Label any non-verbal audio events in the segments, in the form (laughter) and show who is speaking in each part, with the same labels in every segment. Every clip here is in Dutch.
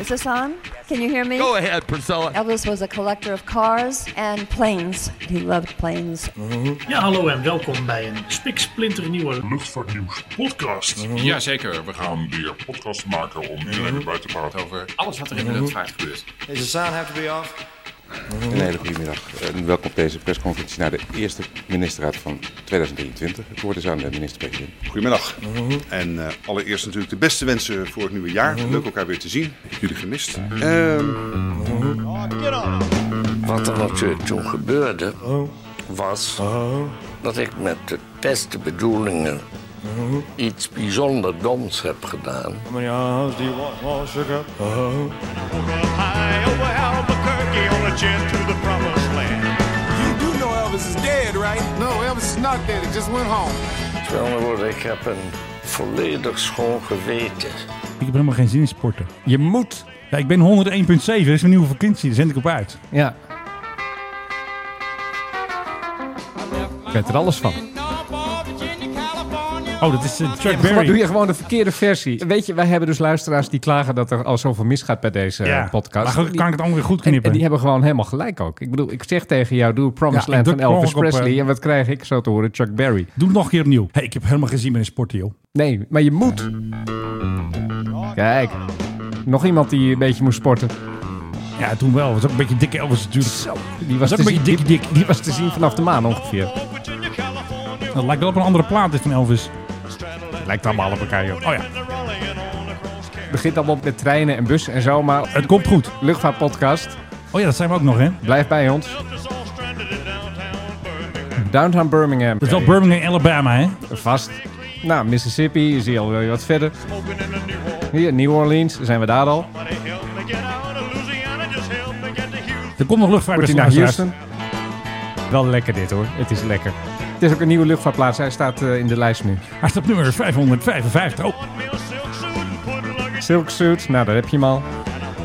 Speaker 1: Is this on? Can you hear me?
Speaker 2: Go ahead, Priscilla.
Speaker 1: Elvis was a collector of cars and planes. He loved planes.
Speaker 3: Ja, hallo en welkom bij een spiksplinternieuwe
Speaker 4: Luchtvaartnieuws podcast.
Speaker 5: Mhm.
Speaker 6: Jazeker, we gaan Mhm.
Speaker 4: Gaan weer podcast maken om hier lekker bij te praten.
Speaker 6: over alles wat er in de
Speaker 5: Mhm.
Speaker 6: luchtvaart gebeurt.
Speaker 7: Is the sound have to be off?
Speaker 8: Een hele goede middag en welkom op deze persconferentie naar de eerste ministerraad van 2023. Het woord is dus aan de minister-president.
Speaker 9: Goedemiddag.
Speaker 10: Mhm.
Speaker 9: En eh, allereerst natuurlijk de beste wensen voor het nieuwe jaar. Leuk elkaar weer te zien. Ik heb jullie gemist. Ehm,
Speaker 10: Wat er natuurlijk toen gebeurde, was dat ik met de beste bedoelingen iets bijzonder doms heb gedaan. Met andere woorden, ik heb een volledig schoon geweten.
Speaker 5: Ik heb helemaal geen zin in sporten.
Speaker 2: Je moet.
Speaker 5: Ja, ik ben 101.7, dat is mijn nieuwe vakantie. Daar zend ik op uit.
Speaker 11: Ja.
Speaker 5: Ik weet er alles van. Oh, dat is eh, Chuck
Speaker 11: Maar doe
Speaker 5: Berry.
Speaker 11: je gewoon de verkeerde versie. Weet je, wij hebben dus luisteraars die klagen dat er al zoveel misgaat bij deze eh, podcast.
Speaker 5: Maar goed,
Speaker 11: Die-
Speaker 5: kan ik het allemaal weer goed
Speaker 11: en,
Speaker 5: knippen.
Speaker 11: en die hebben gewoon helemaal gelijk ook. Ik bedoel, ik zeg tegen jou, doe Promised
Speaker 5: Ja, ik
Speaker 11: Land
Speaker 5: druk
Speaker 11: van Elvis
Speaker 5: per ongeluk op,
Speaker 11: Presley.
Speaker 5: eh,
Speaker 11: En wat krijg ik zo te horen? Chuck Berry.
Speaker 5: Doe het nog een keer opnieuw. Hey, ik heb helemaal geen zin meer in sporten, joh.
Speaker 11: Nee, maar je moet. Kijk, nog iemand die een beetje moest sporten.
Speaker 5: Ja, toen wel. was ook een beetje dikke Elvis natuurlijk.
Speaker 11: Zo, die was,
Speaker 5: Dat
Speaker 11: te
Speaker 5: is ook een
Speaker 11: zien,
Speaker 5: beetje
Speaker 11: die, die was te zien vanaf de maan ongeveer.
Speaker 5: Dat lijkt wel op een andere plaat dit van Elvis.
Speaker 11: Lijkt allemaal op elkaar, joh.
Speaker 5: Oh ja,
Speaker 11: Het begint allemaal met treinen en bussen en zo, maar
Speaker 5: het komt goed.
Speaker 11: luchtvaartpodcast,
Speaker 5: Oh ja, dat zijn we ook nog, hè?
Speaker 11: blijf bij ons.
Speaker 5: (laughs)
Speaker 11: Downtown Birmingham.
Speaker 5: Dat is wel Birmingham, Alabama, hè?
Speaker 11: Vast. Nou, Mississippi is hier al weer wat verder. Hier, New Orleans, zijn we daar al.
Speaker 5: Er komt nog
Speaker 11: Wordt
Speaker 5: luchtvaart
Speaker 11: hij
Speaker 5: bij
Speaker 11: naar
Speaker 5: Slavia.
Speaker 11: Houston. Wel lekker dit hoor, het is lekker. Het is ook een nieuwe luchtvaartplaats, hij staat eh, in de lijst nu.
Speaker 5: Hij staat op nummer 555. Oh,
Speaker 11: Silk Suit, nou daar heb je hem al.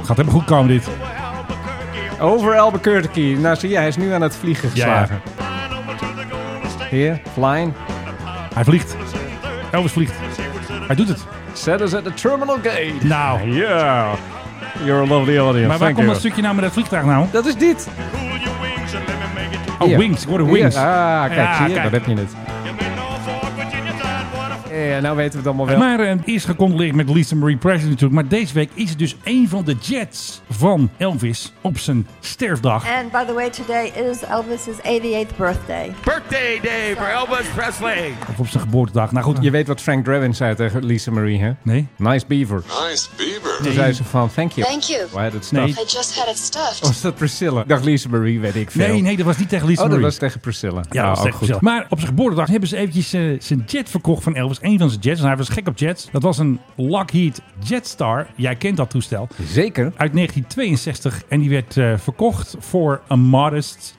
Speaker 5: gaat helemaal goed komen dit. Oh.
Speaker 11: Over Albuquerque, nou zie je, hij is nu aan het vliegen
Speaker 5: Ja,
Speaker 11: geslagen. Hier, flying.
Speaker 5: Hij vliegt. Elvis vliegt. Hij doet het.
Speaker 11: Set us at the terminal gate.
Speaker 5: Nou,
Speaker 11: Yeah, you're a lovely audience,
Speaker 5: maar waar
Speaker 11: thank
Speaker 5: komt
Speaker 11: you.
Speaker 5: dat stukje nou met dat vliegtuig nou?
Speaker 11: Dat is dit.
Speaker 5: Oh,
Speaker 11: Hier.
Speaker 5: wings. Ik hoorde
Speaker 11: Hier.
Speaker 5: wings.
Speaker 11: Ah, kijk,
Speaker 5: Ja,
Speaker 11: zie je,
Speaker 5: kijk.
Speaker 11: daar heb je het. Ja, nou weten we het allemaal wel.
Speaker 5: Maar eh, eerst gecondoleerd met Lisa Marie Presley natuurlijk. Maar deze week is het dus een van de jets van Elvis op zijn sterfdag.
Speaker 1: And by the way, today is Elvis's 88th birthday.
Speaker 2: Birthday day for Elvis Presley.
Speaker 5: Of op zijn geboortedag. Nou goed,
Speaker 11: Ah. Je weet wat Frank Drebin zei tegen Lisa Marie, hè?
Speaker 5: Nee?
Speaker 11: Nice beaver.
Speaker 9: Nice Bieber.
Speaker 11: Toen zei ze van, thank you.
Speaker 12: Thank you.
Speaker 11: Waar dat
Speaker 5: Nee.
Speaker 11: stuff.
Speaker 12: I just had it stuffed.
Speaker 11: Was dat Priscilla? Dag Lisa Marie, weet ik veel.
Speaker 5: Nee, nee, dat was niet tegen Lisa
Speaker 11: Oh, dat
Speaker 5: Marie.
Speaker 11: was tegen Priscilla.
Speaker 5: Ja,
Speaker 11: Ah,
Speaker 5: dat was
Speaker 11: ook
Speaker 5: echt gezellig. Maar op zijn geboortedag hebben ze eventjes eh, zijn jet verkocht van Elvis. Een van zijn jets. En hij was gek op jets. Dat was een Lockheed Jetstar. Jij kent dat toestel.
Speaker 11: Zeker.
Speaker 5: Uit 1962. En die werd eh, verkocht voor een modest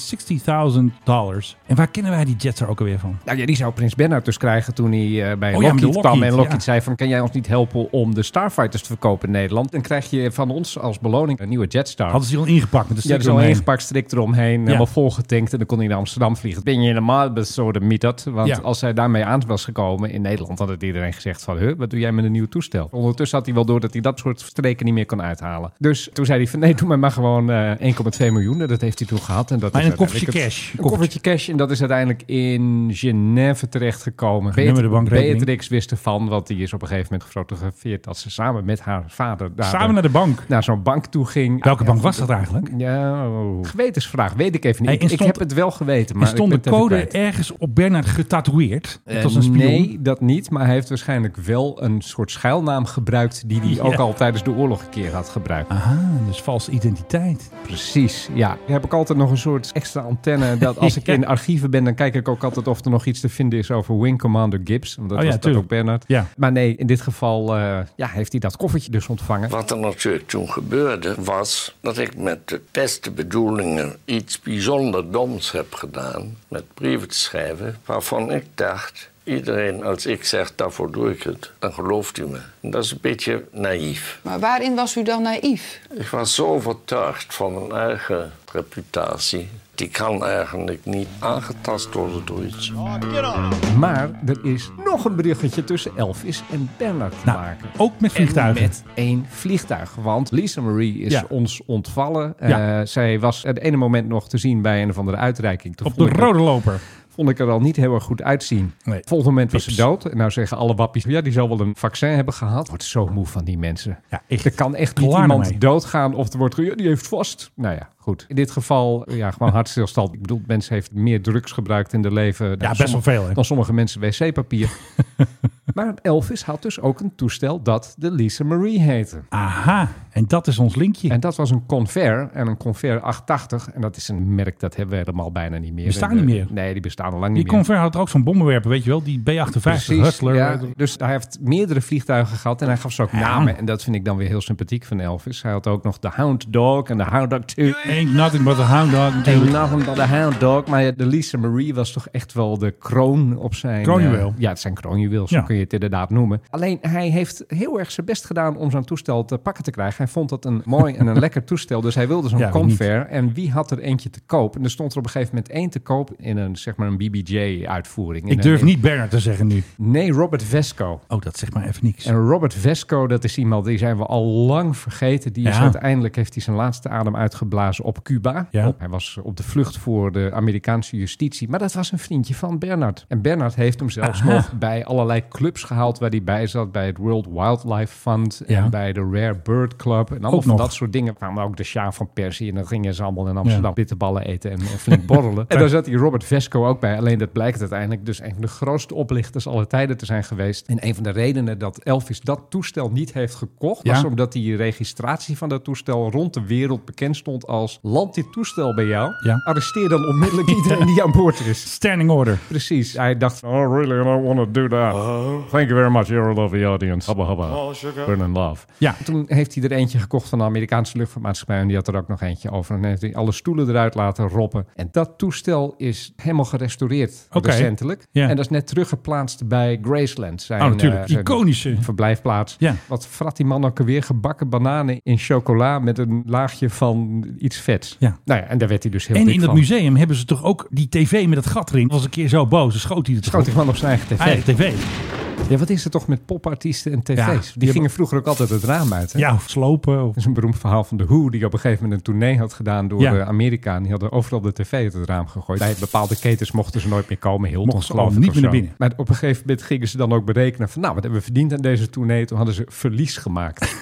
Speaker 5: 260.000 dollars. En waar kennen wij die Jetstar ook alweer van?
Speaker 11: Nou ja, die zou Prins Bernhard dus krijgen toen hij eh, bij
Speaker 5: Oh ja,
Speaker 11: Lockheed,
Speaker 5: met de
Speaker 11: kwam.
Speaker 5: Lockheed,
Speaker 11: En Lockheed
Speaker 5: ja.
Speaker 11: zei van, kan jij ons niet helpen om de Starfighters te verkopen in Nederland? Dan krijg je van ons als beloning een nieuwe Jetstar.
Speaker 5: Hadden ze die al ingepakt met de
Speaker 11: Ja,
Speaker 5: sticker
Speaker 11: er is al
Speaker 5: omheen.
Speaker 11: ingepakt, strik eromheen, helemaal volgetankt. En dan kon hij naar Amsterdam vliegen. Ben je helemaal besodemieterd? Want
Speaker 5: Ja.
Speaker 11: als hij daarmee aan was gekomen in Nederland, had het iedereen gezegd van... Huh, wat doe jij met een nieuw toestel? Ondertussen had hij wel door dat hij dat soort streken niet meer kon uithalen. Dus toen zei hij van nee, doe mij maar gewoon eh, 1,2 miljoen. En Dat heeft hij toen gehad. En dat
Speaker 5: Maar
Speaker 11: is
Speaker 5: in een koffertje
Speaker 11: uiteindelijk het-
Speaker 5: cash.
Speaker 11: Een koffertje cash. En dat is uiteindelijk in Genève terechtgekomen.
Speaker 5: Genummerde
Speaker 11: Beat-
Speaker 5: bankrekening.
Speaker 11: Beatrix wist ervan, want die is op een gegeven moment gefotografeerd... dat ze samen met haar vader daar
Speaker 5: Samen naar de bank.
Speaker 11: naar zo'n bank toe ging.
Speaker 5: Welke bank was dat eigenlijk?
Speaker 11: Ja, oh. gewetensvraag, weet ik even niet.
Speaker 5: Hey,
Speaker 11: Ik-
Speaker 5: en
Speaker 11: ik
Speaker 5: stond-
Speaker 11: heb het wel geweten, maar
Speaker 5: Er stond de
Speaker 11: ik ben het even
Speaker 5: code
Speaker 11: kwijt.
Speaker 5: ergens op Bernard getatoeëerd. Het was een
Speaker 11: Eh,
Speaker 5: spion.
Speaker 11: Nee, dat niet. Maar hij heeft waarschijnlijk wel een soort schuilnaam gebruikt... die hij
Speaker 5: Ja.
Speaker 11: ook al tijdens de oorlog een keer had gebruikt.
Speaker 5: Aha, dus valse identiteit.
Speaker 11: Precies, ja. Daar heb ik altijd nog een soort extra antenne... dat als (laughs) ik
Speaker 5: Ja.
Speaker 11: in archieven ben, dan kijk ik ook altijd... of er nog iets te vinden is over Wing Commander Gibbs. Omdat
Speaker 5: Oh ja,
Speaker 11: was dat
Speaker 5: tuurlijk.
Speaker 11: ook Bernard.
Speaker 5: Ja.
Speaker 11: Maar nee, in dit geval eh, ja, heeft hij dat koffertje dus ontvangen.
Speaker 10: Wat er natuurlijk toen gebeurde, was dat ik met de beste bedoelingen iets bijzonder doms heb gedaan. Met brieven te schrijven waarvan ik dacht, Iedereen, als ik zeg, daarvoor doe ik het, dan gelooft hij me. En dat is een beetje naïef.
Speaker 7: Maar waarin was u dan naïef?
Speaker 10: Ik was zo overtuigd van mijn eigen reputatie. Die kan eigenlijk niet aangetast worden door iets.
Speaker 11: Maar er is nog een bruggetje tussen Elvis en Bernard te maken.
Speaker 5: Nou, Ook met
Speaker 11: En
Speaker 5: vliegtuigen.
Speaker 11: met één vliegtuig. Want Lisa Marie is
Speaker 5: Ja.
Speaker 11: ons ontvallen.
Speaker 5: Ja.
Speaker 11: Eh, zij was het ene moment nog te zien bij een of andere uitreiking. Toen
Speaker 5: Op de
Speaker 11: vond ik haar-
Speaker 5: rode loper.
Speaker 11: vond ik er al niet heel erg goed uitzien.
Speaker 5: Nee.
Speaker 11: Volgende moment was
Speaker 5: Pips.
Speaker 11: ze dood. En nou zeggen alle wappies, ja, die zal wel een vaccin hebben gehad. Wordt zo moe van die mensen.
Speaker 5: Ja, echt.
Speaker 11: er kan echt niet
Speaker 5: Klaar
Speaker 11: iemand
Speaker 5: ermee.
Speaker 11: doodgaan of er wordt ge- ja, die heeft vast. Nou ja, goed. In dit geval, eh, ja,
Speaker 5: (laughs)
Speaker 11: gewoon hartstilstand. Ik bedoel, mensen heeft meer drugs gebruikt in de leven. dan
Speaker 5: best
Speaker 11: sommige-
Speaker 5: wel veel, hè?
Speaker 11: Dan sommige mensen
Speaker 5: (laughs)
Speaker 11: wc-papier. maar Elvis had dus ook een toestel dat de Lisa Marie heette.
Speaker 5: Aha, en dat is ons linkje.
Speaker 11: En dat was een Convair en een Convair 880. En dat is een merk dat hebben we helemaal bijna niet meer.
Speaker 5: Bestaan
Speaker 11: En, eh,
Speaker 5: niet meer.
Speaker 11: Nee, die bestaan al lang niet
Speaker 5: die
Speaker 11: meer.
Speaker 5: Convair had er ook zo'n bommenwerper, weet je wel? Die B-58, Hustler.
Speaker 11: ja.
Speaker 5: eh,
Speaker 11: Dus hij heeft meerdere vliegtuigen gehad en hij gaf ze ook
Speaker 5: Ja.
Speaker 11: namen. En dat vind ik dan weer heel sympathiek van Elvis. Hij had ook nog de Hound Dog en de Hound Dog 2.
Speaker 5: Ain't nothing but a hound dog.
Speaker 11: En
Speaker 5: natuurlijk.
Speaker 11: nothing but a Hound Dog. Maar de Lisa Marie was toch echt wel de kroon op zijn...
Speaker 5: Kroonjuweel.
Speaker 11: eh, ja, het zijn kroonjuweel, zo
Speaker 5: Ja.
Speaker 11: kun je het inderdaad noemen. Alleen hij heeft heel erg zijn best gedaan om zo'n toestel te pakken te krijgen. Hij vond dat een mooi en een
Speaker 5: (laughs)
Speaker 11: lekker toestel. Dus hij wilde zo'n
Speaker 5: Ja, wie niet?
Speaker 11: Convair. En wie had er eentje te koop? En er stond er op een gegeven moment één te koop in een, zeg maar een BBJ-uitvoering.
Speaker 5: Ik durf niet Bernard te zeggen nu.
Speaker 11: Nee, Robert Vesco.
Speaker 5: Oh, dat zegt maar even niks.
Speaker 11: En Robert Vesco, dat is iemand die zijn we al lang vergeten. Die is
Speaker 5: Ja.
Speaker 11: uiteindelijk heeft hij zijn laatste adem uitgeblazen op Cuba.
Speaker 5: Ja.
Speaker 11: Op- Hij was op de vlucht voor de Amerikaanse justitie. Maar dat was een vriendje van Bernard. En Bernard heeft hem zelfs nog bij allerlei clubs gehaald waar hij bij zat. Bij het World Wildlife Fund
Speaker 5: Ja.
Speaker 11: en bij de Rare Bird Club. En
Speaker 5: Ook
Speaker 11: allemaal van
Speaker 5: nog.
Speaker 11: dat soort dingen. Kwamen ook de Sjaar van Persie. En dan gingen ze allemaal in Amsterdam bitterballen eten en, en flink (laughs) borrelen. en daar zat die Robert Vesco ook bij. Alleen dat blijkt uiteindelijk dus een van de grootste oplichters aller tijden te zijn geweest. En een van de redenen dat Elvis dat toestel niet heeft gekocht...
Speaker 5: Ja.
Speaker 11: was omdat die registratie van dat toestel rond de wereld bekend stond als... land dit toestel bij jou,
Speaker 5: Ja.
Speaker 11: arresteer dan onmiddellijk (laughs) iedereen die aan boord is.
Speaker 5: Standing order.
Speaker 11: Precies. Hij dacht, oh really, I don't want to do that. Thank you very much, you're a lovely audience. Habba habba, burn in love.
Speaker 5: Ja.
Speaker 11: Toen heeft hij er eentje gekocht van de Amerikaanse luchtvaartmaatschappij. En die had er ook nog eentje over. En heeft hij alle stoelen eruit laten roppen. En dat toestel is helemaal gerestaureerd
Speaker 5: Oké.
Speaker 11: recentelijk.
Speaker 5: Ja.
Speaker 11: En dat is net teruggeplaatst bij Graceland. Zijn,
Speaker 5: Oh, natuurlijk.
Speaker 11: eh, zijn
Speaker 5: Iconische.
Speaker 11: Verblijfplaats.
Speaker 5: Ja.
Speaker 11: Wat frat die man ook alweer? Gebakken bananen in chocola met een laagje van iets vets.
Speaker 5: Ja.
Speaker 11: Nou ja, en daar werd hij dus heel
Speaker 5: En
Speaker 11: dik
Speaker 5: in dat
Speaker 11: van.
Speaker 5: museum hebben ze toch ook die tv met dat gat erin. Was een keer zo boos, dan schoot hij het
Speaker 11: Schoot die man op zijn eigen tv.
Speaker 5: Eigen tv.
Speaker 11: Ja, wat is er toch met popartiesten en tv's?
Speaker 5: Ja,
Speaker 11: die,
Speaker 5: die
Speaker 11: gingen
Speaker 5: hebben-
Speaker 11: vroeger ook altijd het raam uit. Hè?
Speaker 5: Ja, of slopen. Of...
Speaker 11: Dat is een beroemd verhaal van de Who, die op een gegeven moment een tournee had gedaan door
Speaker 5: Ja.
Speaker 11: eh, Amerika. En die hadden overal de tv uit het raam gegooid. Bij bepaalde ketens mochten ze nooit meer komen. Heel
Speaker 5: Mochten
Speaker 11: toch,
Speaker 5: ze
Speaker 11: geloof
Speaker 5: al
Speaker 11: ik,
Speaker 5: niet
Speaker 11: of
Speaker 5: meer naar
Speaker 11: zo.
Speaker 5: binnen.
Speaker 11: Maar op een gegeven moment gingen ze dan ook berekenen van, nou, wat hebben we verdiend aan deze tournee? Toen hadden ze verlies (laughs) gemaakt.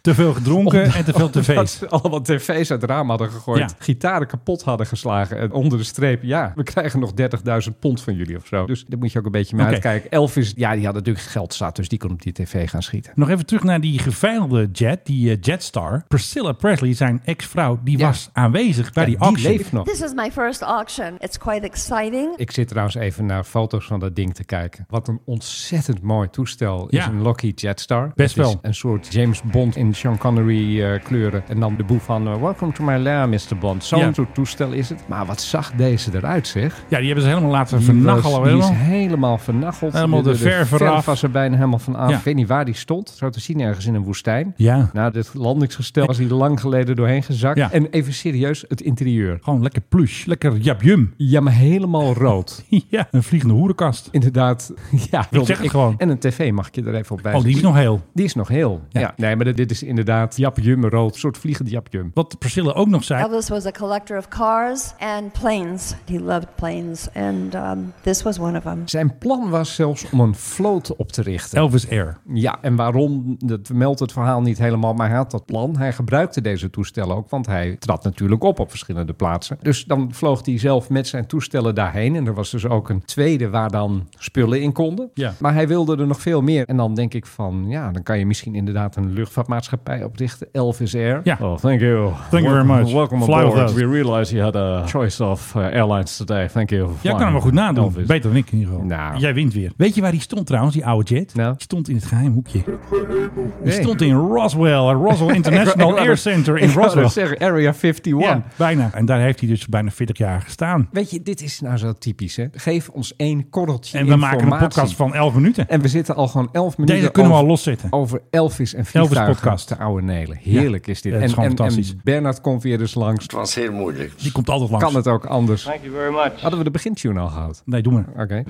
Speaker 5: Te veel gedronken en
Speaker 11: (laughs)
Speaker 5: te veel
Speaker 11: Dat
Speaker 5: tv's.
Speaker 11: ze allemaal tv's uit het raam hadden gegooid.
Speaker 5: Ja.
Speaker 11: Gitaren kapot hadden geslagen. En onder de streep, ja, we krijgen nog 30.000 pond van jullie of zo. Dus daar moet je ook een beetje mee
Speaker 5: Oké.
Speaker 11: uitkijken. Elvis, ja, die had natuurlijk geld zat, dus die kon op die tv gaan schieten.
Speaker 5: Nog even terug naar die geveiligde jet, die eh, Jetstar. Priscilla Presley, zijn ex-vrouw, die
Speaker 11: Ja.
Speaker 5: was aanwezig bij
Speaker 11: Ja,
Speaker 5: die auction.
Speaker 11: leeft nog.
Speaker 1: This is my first auction. It's quite exciting.
Speaker 11: Ik zit trouwens even naar foto's van dat ding te kijken. Wat een ontzettend mooi toestel is
Speaker 5: Ja.
Speaker 11: een Lockheed Jetstar.
Speaker 5: Best
Speaker 11: Het is
Speaker 5: wel.
Speaker 11: Een soort James Bond in Sean Connery eh, kleuren. En dan de boef van eh, Welcome to my lair, Mr. Bond. Zo'n
Speaker 5: Ja.
Speaker 11: soort toestel is het. Maar wat zag deze eruit, zeg?
Speaker 5: Ja, die hebben ze helemaal laten
Speaker 11: Die was-
Speaker 5: vernachelen.
Speaker 11: Die is
Speaker 5: helemaal.
Speaker 11: helemaal vernacheld.
Speaker 5: Helemaal de verf eraf.
Speaker 11: was er bijna helemaal van af.
Speaker 5: Ja.
Speaker 11: Ik weet niet waar die stond. Zo te zien ergens in een woestijn.
Speaker 5: Ja,
Speaker 11: Nou, dit landingsgestel was hier lang geleden doorheen gezakt.
Speaker 5: Ja.
Speaker 11: En even serieus, het interieur.
Speaker 5: gewoon lekker plush, lekker jabjum.
Speaker 11: Ja, maar helemaal rood.
Speaker 5: (laughs) ja, een vliegende hoerenkast.
Speaker 11: Inderdaad, (laughs) ja. wilde
Speaker 5: zeg het gewoon.
Speaker 11: En een tv mag ik je er even op wijzen.
Speaker 5: Oh, die is nog heel.
Speaker 11: Die is nog heel. Ja.
Speaker 5: Ja.
Speaker 11: Nee, maar dit- dit is inderdaad japjum rood. Een soort vliegend japjum.
Speaker 5: Wat Priscilla ook nog zei,
Speaker 1: Elvis was a collector of cars and planes. He loved planes, and um, this was one of them.
Speaker 11: Zijn plan was zelfs om een vloot op te richten.
Speaker 5: Elvis Air.
Speaker 11: Ja, en waarom, dat meldt het verhaal niet helemaal, maar hij had dat plan. Hij gebruikte deze toestellen ook, want hij trad natuurlijk op op verschillende plaatsen. Dus dan vloog hij zelf met zijn toestellen daarheen. En er was dus ook een tweede waar dan spullen in konden.
Speaker 5: Ja.
Speaker 11: Maar hij wilde er nog veel meer. En dan denk ik van, ja, dan kan je misschien inderdaad een luchtvaartmaatschappij oprichten. Elvis Air.
Speaker 5: Ja.
Speaker 11: Oh, thank you. Thank
Speaker 5: you very much.
Speaker 11: Welcome
Speaker 5: Fly with
Speaker 11: aboard.
Speaker 5: us.
Speaker 11: We realize you had a choice of uh, airlines today. Thank you. for
Speaker 5: Jij kan
Speaker 11: flying.
Speaker 5: hem wel goed nadoen.
Speaker 11: Elvis.
Speaker 5: Beter dan ik in ieder geval.
Speaker 11: Nou.
Speaker 5: Jij wint weer. Weet je waar die stond trouwens, die oude jet.
Speaker 11: Nou.
Speaker 5: Die stond in het geheim hoekje. Die stond in Roswell, het
Speaker 11: (laughs)
Speaker 5: Roswell
Speaker 11: Ik wou-
Speaker 5: International
Speaker 11: ik wou
Speaker 5: Air
Speaker 11: dat-
Speaker 5: Center in
Speaker 11: ik wou dat
Speaker 5: Roswell.
Speaker 11: zeggen, Area 51.
Speaker 5: Ja, bijna. En daar heeft hij dus bijna 40 jaar gestaan.
Speaker 11: Weet je, dit is nou zo typisch, hè? Geef ons één korreltje
Speaker 5: En we maken een
Speaker 11: informatie.
Speaker 5: podcast van 11 minuten.
Speaker 11: En we zitten al gewoon 11 minuten
Speaker 5: Deze kunnen we
Speaker 11: over-
Speaker 5: al loszetten.
Speaker 11: over Elvis en vliegtuigen.
Speaker 5: podcast.
Speaker 11: De oude Nelen. Heerlijk is dit.
Speaker 5: Ja, het is
Speaker 11: en,
Speaker 5: gewoon
Speaker 11: en-
Speaker 5: fantastisch.
Speaker 11: en Bernard komt weer dus langs.
Speaker 10: Het was heel moeilijk.
Speaker 5: Die komt altijd langs.
Speaker 11: Kan het ook anders? Thank you very much. Hadden we de begintune al gehad?
Speaker 5: Nee, doe maar.
Speaker 11: Oké.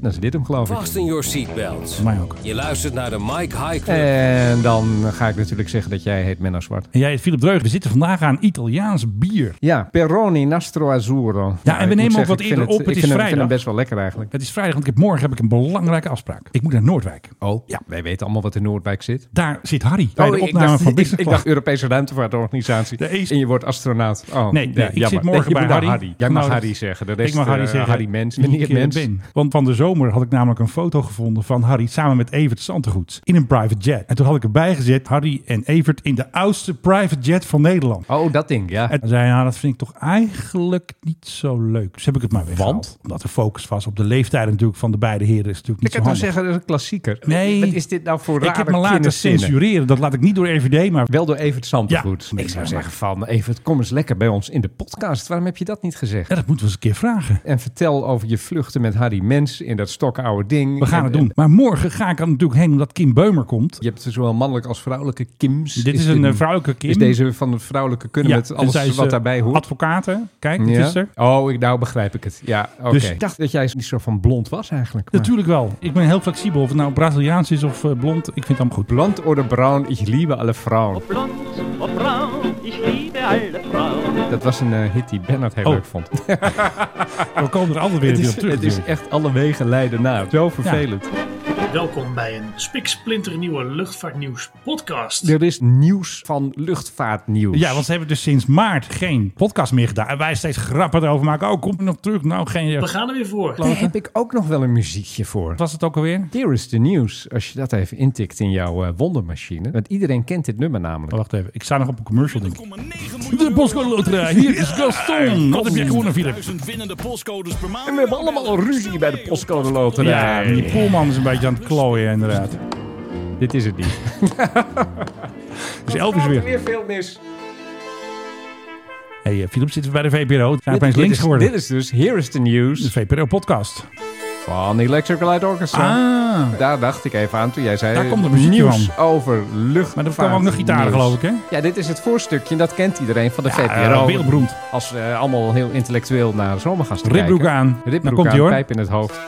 Speaker 11: Dan is dit hem, geloof ik.
Speaker 12: Vast in your seatbelts.
Speaker 5: Voor mij ook.
Speaker 12: Je luistert naar de Mike High Club.
Speaker 11: En dan ga ik natuurlijk zeggen dat jij heet Menno Zwart.
Speaker 5: En jij, Philip Dreug, we zitten vandaag aan Italiaans bier.
Speaker 11: Ja, Peroni Nastro Azzurro. Nou,
Speaker 5: Ja, en we
Speaker 11: ik moet
Speaker 5: nemen ook
Speaker 11: zeggen,
Speaker 5: wat
Speaker 11: ik
Speaker 5: eerder
Speaker 11: vind
Speaker 5: op.
Speaker 11: ik
Speaker 5: Het is
Speaker 11: vind Ik vind
Speaker 5: vrijdag.
Speaker 11: hem best wel lekker eigenlijk.
Speaker 5: Het is vrijdag, want ik heb, morgen heb ik een belangrijke afspraak. Ik moet naar Noordwijk.
Speaker 11: Oh, ja. Wij weten allemaal wat in Noordwijk zit.
Speaker 5: Daar zit Harry bij de
Speaker 11: Oh, ik
Speaker 5: opname
Speaker 11: dacht,
Speaker 5: van
Speaker 11: ik,
Speaker 5: Business
Speaker 11: ik
Speaker 5: Class.
Speaker 11: dacht Europese ruimtevaartorganisatie.
Speaker 5: De EAS.
Speaker 11: En je wordt astronaut. Oh,
Speaker 5: Nee, nee, ik
Speaker 11: jammer.
Speaker 5: zit morgen
Speaker 11: je
Speaker 5: bij
Speaker 11: moet naar
Speaker 5: Harry.
Speaker 11: Jij mag
Speaker 5: Nou, dat-
Speaker 11: Harry zeggen. De
Speaker 5: ik
Speaker 11: rest,
Speaker 5: mag Harry
Speaker 11: eh,
Speaker 5: zeggen.
Speaker 11: Harry Mens.
Speaker 5: wie
Speaker 11: Meneer
Speaker 5: ik, eh,
Speaker 11: Mens.
Speaker 5: ben. Want van de zomer had ik namelijk een foto gevonden van Harry samen met Evert Santegoed in een private jet. En toen had ik erbij gezet Harry en Evert in de oudste private jet van Nederland.
Speaker 11: Oh, dat ding, ja.
Speaker 5: En toen zei hij, nou, dat vind ik toch eigenlijk niet zo leuk. Dus heb ik het maar weggehaald.
Speaker 11: Want?
Speaker 5: Omdat de focus was op de leeftijd natuurlijk van de beide heren. Is natuurlijk niet
Speaker 11: Ik
Speaker 5: zo
Speaker 11: kan nou
Speaker 5: handig.
Speaker 11: zeggen, dat is een klassieker.
Speaker 5: Nee.
Speaker 11: Wat is dit nou voor
Speaker 5: Ik
Speaker 11: rare
Speaker 5: heb me laten
Speaker 11: kinderzinnen?
Speaker 5: censureren. Dat laat ik niet door RVD, maar
Speaker 11: Wel door Evert Santegoed.
Speaker 5: Ja.
Speaker 11: ik zou zeggen van, Evert, kom eens lekker bij ons in de podcast. Waarom heb je dat niet gezegd?
Speaker 5: ja, dat moeten we eens een keer vragen.
Speaker 11: En vertel over je vluchten met Harry Mens in dat stokoude ding.
Speaker 5: We gaan
Speaker 11: En-
Speaker 5: het
Speaker 11: en
Speaker 5: doen. Maar morgen ga ik er natuurlijk heen omdat Kim Beumer komt.
Speaker 11: Je hebt zowel mannelijke als vrouwelijke Kims.
Speaker 5: Dit is, een
Speaker 11: dit-
Speaker 5: eh, vrouwelijke Kim.
Speaker 11: Is deze van de vrouwelijke kunnen
Speaker 5: Ja,
Speaker 11: met
Speaker 5: en
Speaker 11: alles
Speaker 5: zij is,
Speaker 11: wat
Speaker 5: eh,
Speaker 11: daarbij hoort?
Speaker 5: Advocaten, kijk, dit
Speaker 11: Ja?
Speaker 5: is er.
Speaker 11: Oh, ik, nou begrijp ik het. Ja, oké.
Speaker 5: Dus-
Speaker 11: ik dacht dat jij niet zo van blond was eigenlijk. maar-
Speaker 5: Natuurlijk wel. Ik ben heel flexibel. Of het nou Braziliaans is of eh, blond, ik vind het allemaal goed.
Speaker 11: Blond oder braun, ich liebe alle Frauen. Dat was een eh, hit die Bernard heel
Speaker 5: Oh.
Speaker 11: leuk (laughs) vond.
Speaker 5: We komen er altijd weer,
Speaker 11: het,
Speaker 5: weer
Speaker 11: is,
Speaker 5: op terug.
Speaker 11: het is
Speaker 5: natuurlijk.
Speaker 11: echt alle wegen leiden naar. Zo vervelend.
Speaker 3: Welkom bij een spiksplinternieuwe luchtvaartnieuws podcast.
Speaker 11: Er is nieuws van luchtvaartnieuws.
Speaker 5: Ja, want ze hebben dus sinds maart geen podcast meer gedaan. En wij steeds grappen erover maken. Oh, komt er nog terug? Nou, geen...
Speaker 3: We gaan er weer voor.
Speaker 11: daar heb ik ook nog wel een muziekje voor.
Speaker 5: Was het ook alweer? Oh,
Speaker 11: Here is the news. Als je dat even intikt in jouw eh, wondermachine. Want iedereen kent dit nummer namelijk.
Speaker 5: Oh, wacht even. Ik sta nog op een commercial, denk ik. De Bosco Lotra. Hier is Gaston. Wat heb jij gewonnen, Philip?
Speaker 11: En we hebben allemaal ruzie bij de postcode loterij.
Speaker 5: Ja, die Poelman is een beetje aan het klooien, inderdaad.
Speaker 11: Dit is het niet.
Speaker 5: Dus Elvis weer.
Speaker 11: Weer veel mis.
Speaker 5: Hé, hey, eh, Philip, zitten we bij de VPRO?
Speaker 11: Dit-
Speaker 5: Zijn opeens
Speaker 11: dit
Speaker 5: links
Speaker 11: is-
Speaker 5: geworden.
Speaker 11: Dit is dus Here is the news
Speaker 5: De VPRO-podcast.
Speaker 11: van Electric Light Orchestra.
Speaker 5: Ah.
Speaker 11: Daar dacht ik even aan toen jij zei...
Speaker 5: Daar komt de muziekje
Speaker 11: nieuws
Speaker 5: van.
Speaker 11: over luchtvaart.
Speaker 5: Maar er kwamen ook nog gitaren,
Speaker 11: nieuws.
Speaker 5: geloof ik, hè?
Speaker 11: Ja, dit is het voorstukje. En dat kent iedereen van de
Speaker 5: eh,
Speaker 11: VPRO.
Speaker 5: wereldberoemd.
Speaker 11: Als we eh, allemaal heel intellectueel naar de zomergast
Speaker 5: Ribbroek
Speaker 11: kijken.
Speaker 5: aan.
Speaker 11: Ribbroek
Speaker 5: Dan komt
Speaker 11: aan,
Speaker 5: hij hoor.
Speaker 11: pijp in het hoofd.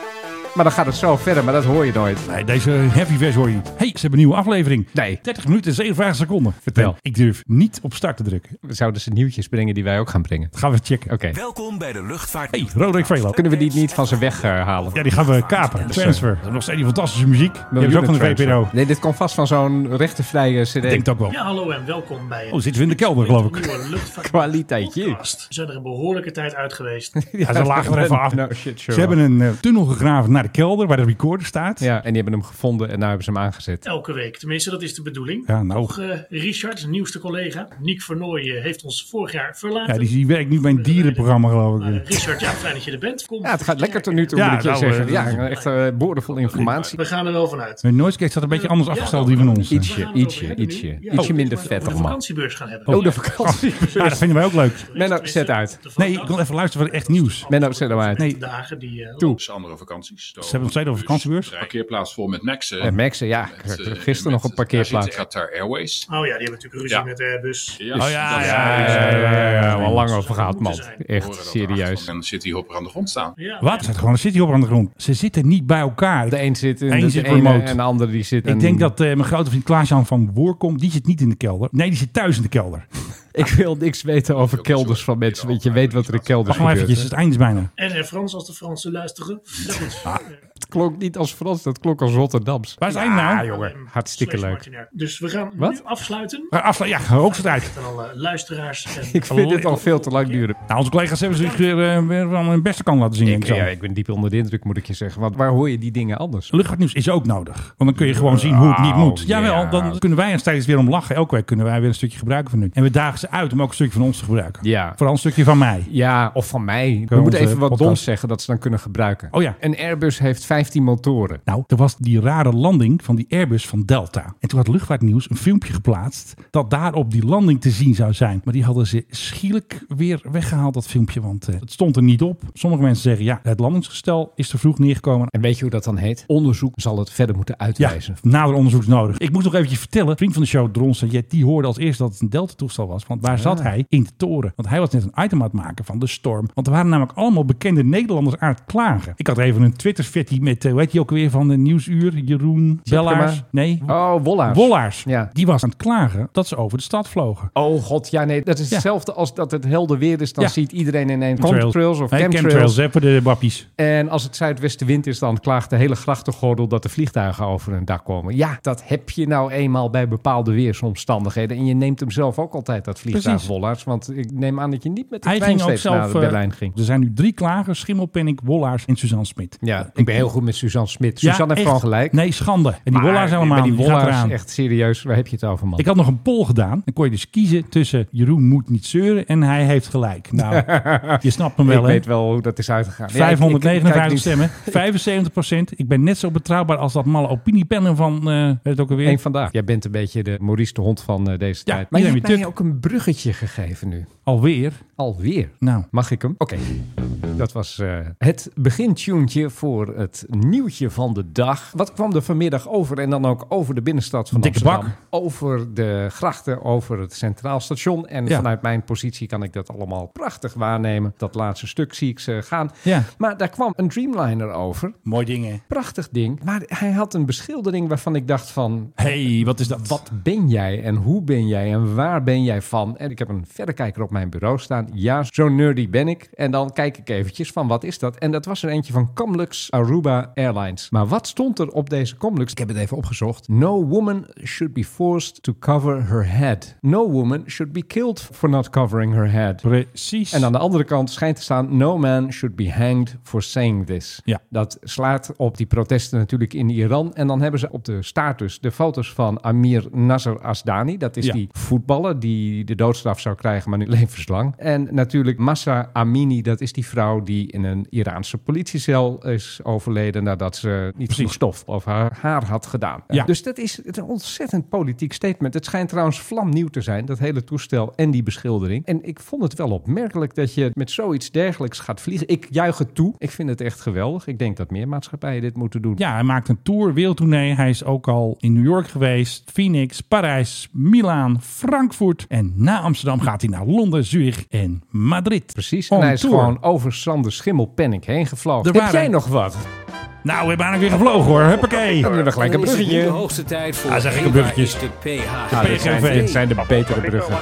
Speaker 11: Maar dan gaat het zo verder, maar dat hoor je nooit.
Speaker 5: Nee, deze heavy vers hoor je niet. hey, ze hebben een nieuwe aflevering.
Speaker 11: Nee.
Speaker 5: 30 minuten en 57 seconden.
Speaker 11: Vertel.
Speaker 5: Ik durf niet op start te drukken.
Speaker 11: We zouden ze nieuwtjes brengen die wij ook gaan brengen.
Speaker 5: Dat gaan we checken.
Speaker 11: Oké.
Speaker 12: Welkom bij de luchtvaart.
Speaker 5: hey, Roderick Velo.
Speaker 11: Kunnen we die niet van zijn weg eh, halen?
Speaker 5: Ja, die gaan we kapen. Transfer. Dat is nog steeds die fantastische muziek. Die is ook van de
Speaker 11: Miljoenen
Speaker 5: VPRO.
Speaker 11: transfer. Nee, dit komt vast van zo'n rechtenvrije CD.
Speaker 5: Ik denk het ook wel.
Speaker 3: Ja, hallo en welkom bij een
Speaker 5: Oh, zitten we in de kelder, geloof
Speaker 11: (laughs)
Speaker 5: ik. (laughs)
Speaker 3: nieuwe luchtvaart
Speaker 11: Kwaliteitje.
Speaker 3: podcast. We zijn er een behoorlijke tijd uit
Speaker 5: (laughs)
Speaker 3: geweest.
Speaker 5: Ja, ze lagen er even af.
Speaker 11: (laughs) No shit, sure.
Speaker 5: Ze hebben een eh, tunnel gegraven naar de kelder waar de recorder staat.
Speaker 11: Ja, en die hebben hem gevonden en nu hebben ze hem aangezet.
Speaker 3: Elke week, tenminste, dat is de bedoeling.
Speaker 5: Ja, nou.
Speaker 3: Toch, eh, Richard, de nieuwste collega, Nick Vernooy, eh, heeft ons vorig jaar verlaten.
Speaker 5: Ja, die, die werkt nu bij een dierenprogramma, geloof
Speaker 3: Maar, eh,
Speaker 5: ik.
Speaker 3: Richard, ja, fijn dat je er bent. Kom.
Speaker 11: Ja, het gaat lekker tot nu toe,
Speaker 5: Ja,
Speaker 11: moet ik je
Speaker 5: nou,
Speaker 11: zeggen.
Speaker 5: eh,
Speaker 11: ja, echt eh boordevol informatie.
Speaker 3: We gaan er wel vanuit.
Speaker 5: Hun noisecake staat een beetje anders afgesteld die van ons.
Speaker 11: Ietsje,
Speaker 3: We gaan het
Speaker 11: ietsje,
Speaker 3: over hebben nu.
Speaker 11: ietsje.
Speaker 3: Ja,
Speaker 11: Ietsje
Speaker 3: we moeten
Speaker 11: minder
Speaker 3: het over
Speaker 11: vettig,
Speaker 3: de
Speaker 11: man.
Speaker 3: vakantiebeurs gaan hebben.
Speaker 11: Oh, de
Speaker 5: (laughs)
Speaker 11: vakantie.
Speaker 5: Ja, dat vinden wij ook leuk.
Speaker 11: Menno, zet uit.
Speaker 5: Nee, ik wil even luisteren voor echt nieuws.
Speaker 11: Menno, zet hem uit.
Speaker 5: Nee,
Speaker 3: De dagen die... eh,
Speaker 6: Dus andere vakanties.
Speaker 5: Ze hebben het steeds over vakantiebeurs.
Speaker 6: Parkeerplaats vol met Maxen. eh,
Speaker 11: En Eh, Maxen, ja, ik heb gisteren nog op parkeerplaats.
Speaker 6: Qatar Airways.
Speaker 3: Oh ja, die hebben natuurlijk ruzie
Speaker 6: Ja.
Speaker 3: met de bus.
Speaker 5: Oh ja, ja,
Speaker 11: Ja,
Speaker 5: ja, ja, ja, ja.
Speaker 11: al lang over gehad, man.
Speaker 3: moeten zijn.
Speaker 11: Echt serieus.
Speaker 6: En zit hierop aan de grond staan.
Speaker 11: eh,
Speaker 3: Ja,
Speaker 5: Wat? Er zit gewoon een cityhopper aan de grond. Ze zitten niet bij elkaar.
Speaker 11: De een zit in
Speaker 5: Eén
Speaker 11: de
Speaker 5: zit
Speaker 11: ene
Speaker 5: remote.
Speaker 11: en de andere die zit in...
Speaker 5: Ik denk dat eh, mijn grote vriend Klaas-Jan van Woerkom, die zit niet in de kelder. Nee, die zit thuis in de kelder.
Speaker 11: Ik wil niks weten over kelders van mensen, want je weet wat er in kelders
Speaker 5: Wacht maar
Speaker 11: gebeurt.
Speaker 5: eventjes, het einde is bijna.
Speaker 3: En, en Frans, als de Fransen luisteren. Eh, Dat is
Speaker 11: Het klonk niet als Frans, dat klonk als Rotterdams.
Speaker 5: Waar is het einde nou?
Speaker 11: jongen, hartstikke
Speaker 3: Slees
Speaker 11: leuk.
Speaker 3: eh, Martinair. Dus we gaan
Speaker 11: Wat?
Speaker 3: nu afsluiten.
Speaker 5: Maar Eh, afsla- ja, ook het uit.
Speaker 3: En alle luisteraars. En
Speaker 11: Ik vind dit al veel te lang duren.
Speaker 5: Nou, onze collega's hebben zich weer, eh, weer van hun beste kant laten zien. denk
Speaker 11: Ik,
Speaker 5: Ik, zo.
Speaker 11: ja, ik ben diep onder de indruk, moet ik je zeggen. Want waar hoor je die dingen anders?
Speaker 5: Luchtvaartnieuws is ook nodig. Want dan kun je gewoon zien hoe het niet moet.
Speaker 11: ja.
Speaker 5: Jawel, dan kunnen wij er steeds weer om lachen. Elke week kunnen wij weer een stukje gebruiken van nu. En we dagen ze uit om ook een stukje van ons te gebruiken.
Speaker 11: Ja.
Speaker 5: Vooral een stukje van mij.
Speaker 11: Ja, of van mij. We
Speaker 5: onze
Speaker 11: moeten even wat
Speaker 5: podcast.
Speaker 11: doms zeggen dat ze dan kunnen gebruiken.
Speaker 5: Oh ja.
Speaker 11: Een Airbus heeft 15 motoren.
Speaker 5: Nou, er was die rare landing van die Airbus van Delta. En toen had Luchtvaartnieuws een filmpje geplaatst dat daarop die landing te zien zou zijn. Maar die hadden ze schielijk weer weggehaald, dat filmpje, want eh, het stond er niet op. Sommige mensen zeggen, ja, het landingsgestel is te vroeg neergekomen.
Speaker 11: En weet je hoe dat dan heet? Onderzoek zal het verder moeten uitwijzen.
Speaker 5: Ja, nader onderzoek is nodig. Ik moet nog eventjes vertellen, een vriend van de show, Dron Sajet, die hoorde als eerste dat het een Delta-toestel was. Want waar zat
Speaker 11: Ah.
Speaker 5: hij? In de toren. Want hij was net een item aan het maken van de storm. Want er waren namelijk allemaal bekende Nederlanders aan het klagen. Ik had even een Twitter-fitty met, eh, hoe heet je ook weer, van de Nieuwsuur, Jeroen
Speaker 11: Zipkema.
Speaker 5: Bellaars. Nee.
Speaker 11: Oh, Wollaars.
Speaker 5: Wollaars.
Speaker 11: Ja.
Speaker 5: Die was aan het klagen dat ze over de stad vlogen.
Speaker 11: Oh god, ja nee, dat is
Speaker 5: Ja.
Speaker 11: hetzelfde als dat het helder weer is. Dan
Speaker 5: Ja.
Speaker 11: ziet iedereen ineens contrails of
Speaker 5: Nee,
Speaker 11: chemtrails.
Speaker 5: hè, voor de wappies.
Speaker 11: En als het zuidwestenwind is, dan klaagt de hele grachtengordel dat de vliegtuigen over hun dak komen. Ja, dat heb je nou eenmaal bij bepaalde weersomstandigheden. En je neemt hem zelf ook altijd, dat vliegtuig
Speaker 5: Precies.
Speaker 11: Wollaars. Want ik neem aan dat je niet met de
Speaker 5: Hij
Speaker 11: trein
Speaker 5: ging ook
Speaker 11: steeds
Speaker 5: zelf...
Speaker 11: naar
Speaker 5: eh,
Speaker 11: Berlijn ging.
Speaker 5: Er zijn nu drie klagers, Schimmelpenninck, Wollaars en Suzanne Smit.
Speaker 11: Ja, ik ben heel goed met Suzanne Smit.
Speaker 5: Ja,
Speaker 11: Suzanne heeft
Speaker 5: echt.
Speaker 11: gewoon gelijk.
Speaker 5: Nee, schande. En die
Speaker 11: Maar
Speaker 5: Wollaars helemaal
Speaker 11: bij
Speaker 5: niet.
Speaker 11: Die
Speaker 5: Die gaat
Speaker 11: Wollaars,
Speaker 5: eraan.
Speaker 11: echt serieus, waar heb je het over, man?
Speaker 5: Ik had nog een poll gedaan. Dan kon je dus kiezen tussen Jeroen moet niet zeuren en hij heeft
Speaker 11: (laughs)
Speaker 5: gelijk. Nou, je snapt me wel,
Speaker 11: Ik
Speaker 5: hè?
Speaker 11: weet wel hoe dat is uitgegaan. Ja, ik- ik- ik kijk
Speaker 5: 559
Speaker 11: niet-
Speaker 5: stemmen, 75 Ik ben net zo betrouwbaar als dat malle opiniepennen van, eh het ook alweer?
Speaker 11: Eén vandaag. Jij bent een beetje de Maurice de Hond van eh, deze
Speaker 5: Ja,
Speaker 11: tijd.
Speaker 5: die
Speaker 11: Maar je
Speaker 5: zijn
Speaker 11: hebt
Speaker 5: weer
Speaker 11: mij ook een bruggetje gegeven nu.
Speaker 5: Alweer?
Speaker 11: Alweer.
Speaker 5: Nou.
Speaker 11: Mag ik hem? Oké. Dat was eh, het begintuntje voor het nieuwtje van de dag. Wat kwam er vanmiddag over en dan ook over de binnenstad van
Speaker 5: Dikke
Speaker 11: Amsterdam?
Speaker 5: bak.
Speaker 11: Over de grachten, over het Centraal Station. En
Speaker 5: Ja.
Speaker 11: vanuit mijn positie kan ik dat allemaal prachtig waarnemen. Dat laatste stuk zie ik ze gaan.
Speaker 5: Ja.
Speaker 11: Maar daar kwam een Dreamliner over.
Speaker 5: Mooi dingen.
Speaker 11: Prachtig ding. Maar hij had een beschildering waarvan ik dacht van...
Speaker 5: hey, wat is dat?
Speaker 11: Wat ben jij en hoe ben jij en waar ben jij van? En ik heb een verrekijker op mijn bureau staan. Ja, zo nerdy ben ik. En dan kijk ik eventjes van wat is dat? En dat was er eentje van Comlux Aruba Airlines. Maar wat stond er op deze Comlux? Ik heb het even opgezocht. No woman should be forced to cover her head. No woman should be killed for not covering her head.
Speaker 5: Precies.
Speaker 11: En aan de andere kant schijnt te staan: No man should be hanged for saying this.
Speaker 5: Ja.
Speaker 11: Dat slaat op die protesten natuurlijk in Iran. En dan hebben ze op de status de foto's van Amir Nasser Asdani. Dat is
Speaker 5: Ja.
Speaker 11: die voetballer die de doodstraf zou krijgen, maar nu (laughs) levenslang. En natuurlijk Massa Amini. Dat is die vrouw die in een Iraanse politiecel is overleden nadat ze niet genoeg stof of haar haar had gedaan.
Speaker 5: Ja.
Speaker 11: Dus dat is een ontzettend politiek statement. Het schijnt trouwens vlamnieuw te zijn, dat hele toestel en die beschildering. En ik vond het wel opmerkelijk dat je met zoiets dergelijks gaat vliegen. Ik juich het toe. Ik vind het echt geweldig. Ik denk dat meer maatschappijen dit moeten doen.
Speaker 5: Ja, hij maakt een tour, wereldtournee. Hij is ook al in New York geweest, Phoenix, Parijs, Milaan, Frankfurt. En na Amsterdam gaat hij naar Londen, Zurich en Madrid.
Speaker 11: Precies.
Speaker 5: On
Speaker 11: en hij is
Speaker 5: tour.
Speaker 11: gewoon over Sander Schimmelpenninck heen gevlogen.
Speaker 5: Er
Speaker 11: Heb
Speaker 5: waren-
Speaker 11: jij nog wat?
Speaker 5: Nou, we hebben eigenlijk weer gevlogen hoor. Huppakee.
Speaker 11: Dan hebben we gelijk een
Speaker 12: Dan is het nu de
Speaker 11: bruggetje.
Speaker 12: hoogste tijd voor
Speaker 5: Ah, zeg ik een
Speaker 12: Eva
Speaker 5: bruggetjes.
Speaker 12: is de PH.
Speaker 5: De
Speaker 11: dit zijn,
Speaker 5: PGV.
Speaker 11: dit zijn de betere bruggen.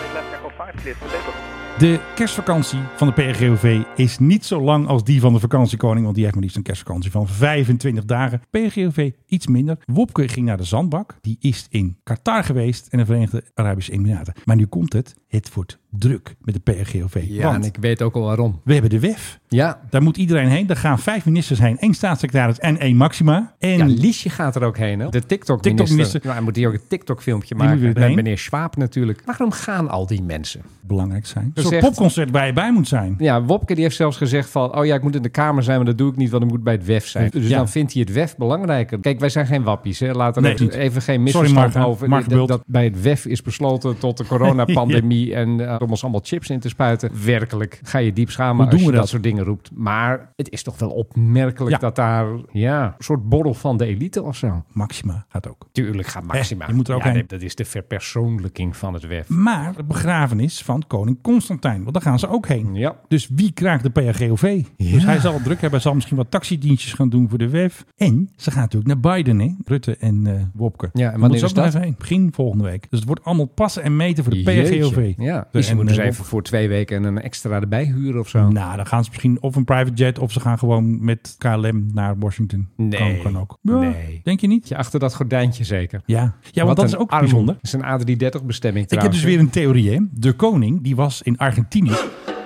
Speaker 5: De kerstvakantie van de PRGOV is niet zo lang als die van de vakantiekoning, want die heeft maar liefst een kerstvakantie van 25 dagen. PRGOV iets minder. Wopke ging naar de zandbak. Die is in Qatar geweest en de Verenigde Arabische Emiraten. Maar nu komt het. Het wordt druk met de PRGOV.
Speaker 11: Ja, en
Speaker 5: want
Speaker 11: ik weet ook al waarom.
Speaker 5: we hebben de WEF.
Speaker 11: Ja,
Speaker 5: Daar moet iedereen heen. Daar gaan vijf ministers heen. één staatssecretaris en één maxima. En
Speaker 11: Ja, Liesje gaat er ook heen. Hè? De TikTok-minister.
Speaker 5: TikTok-minister.
Speaker 11: Nou, hij moet hier ook een TikTok-filmpje
Speaker 5: Die moet
Speaker 11: maken.
Speaker 5: weer
Speaker 11: En
Speaker 5: heen.
Speaker 11: meneer Schwab natuurlijk. Waarom gaan al die mensen?
Speaker 5: belangrijk zijn. Een soort
Speaker 11: Gezegd.
Speaker 5: popconcert waar je bij moet zijn.
Speaker 11: Ja, Wopke die heeft zelfs gezegd van... oh ja, ik moet in de Kamer zijn, maar dat doe ik niet... want ik moet bij het WEF zijn. Dus
Speaker 5: Ja.
Speaker 11: dan vindt hij het WEF belangrijker. Kijk, wij zijn geen wappies. Hè? Laat er
Speaker 5: Nee,
Speaker 11: even-
Speaker 5: niet.
Speaker 11: even geen
Speaker 5: Sorry,
Speaker 11: misverstand
Speaker 5: Marga.
Speaker 11: over.
Speaker 5: Marga
Speaker 11: dat,
Speaker 5: Bult.
Speaker 11: dat bij het WEF is besloten (laughs) tot de coronapandemie... en eh, om ons allemaal chips in te spuiten. Werkelijk, ga je diep schamen
Speaker 5: Hoe
Speaker 11: als
Speaker 5: doen
Speaker 11: je
Speaker 5: we
Speaker 11: dat?
Speaker 5: dat?
Speaker 11: soort dingen roept. Maar het is toch wel opmerkelijk
Speaker 5: Ja.
Speaker 11: dat daar... ja, een soort borrel van de elite of zo.
Speaker 5: Maxima gaat ook.
Speaker 11: Tuurlijk gaat Maxima.
Speaker 5: Hè, je moet er ook
Speaker 11: ja,
Speaker 5: heen.
Speaker 11: nee, Dat is de verpersoonlijking van het WEF.
Speaker 5: Maar de begrafenis van koning Constantijn. Want daar gaan ze ook heen.
Speaker 11: Ja.
Speaker 5: Dus wie kraakt de PHGOV? Dus hij zal het druk hebben. Hij zal misschien wat taxidienstjes gaan doen voor de WEF. En ze gaan natuurlijk naar Biden, hè? Rutte en eh, Wopke.
Speaker 11: Ja, en
Speaker 5: Daar
Speaker 11: wanneer
Speaker 5: moeten ze
Speaker 11: is
Speaker 5: ook nog
Speaker 11: dat?
Speaker 5: even heen. Begin volgende week. Dus het wordt allemaal passen en meten voor de PHGOV.
Speaker 11: Jeetje. Ja.
Speaker 5: Dus
Speaker 11: Dus je moet
Speaker 5: en,
Speaker 11: dus
Speaker 5: eh,
Speaker 11: even voor twee weken een extra erbij huren of zo.
Speaker 5: Nou, dan gaan ze misschien of een private jet... of ze gaan gewoon met KLM naar Washington.
Speaker 11: Nee.
Speaker 5: Kan, kan ook. Ja,
Speaker 11: Nee.
Speaker 5: Denk je niet?
Speaker 11: Je achter dat gordijntje zeker.
Speaker 5: Ja, ja want
Speaker 11: Wat
Speaker 5: dat is
Speaker 11: een
Speaker 5: ook
Speaker 11: arm.
Speaker 5: bijzonder.
Speaker 11: Dat is een A330 bestemming
Speaker 5: Ik heb
Speaker 11: trouwens.
Speaker 5: dus weer een theorie, hè. De koning, die was in Argentinië.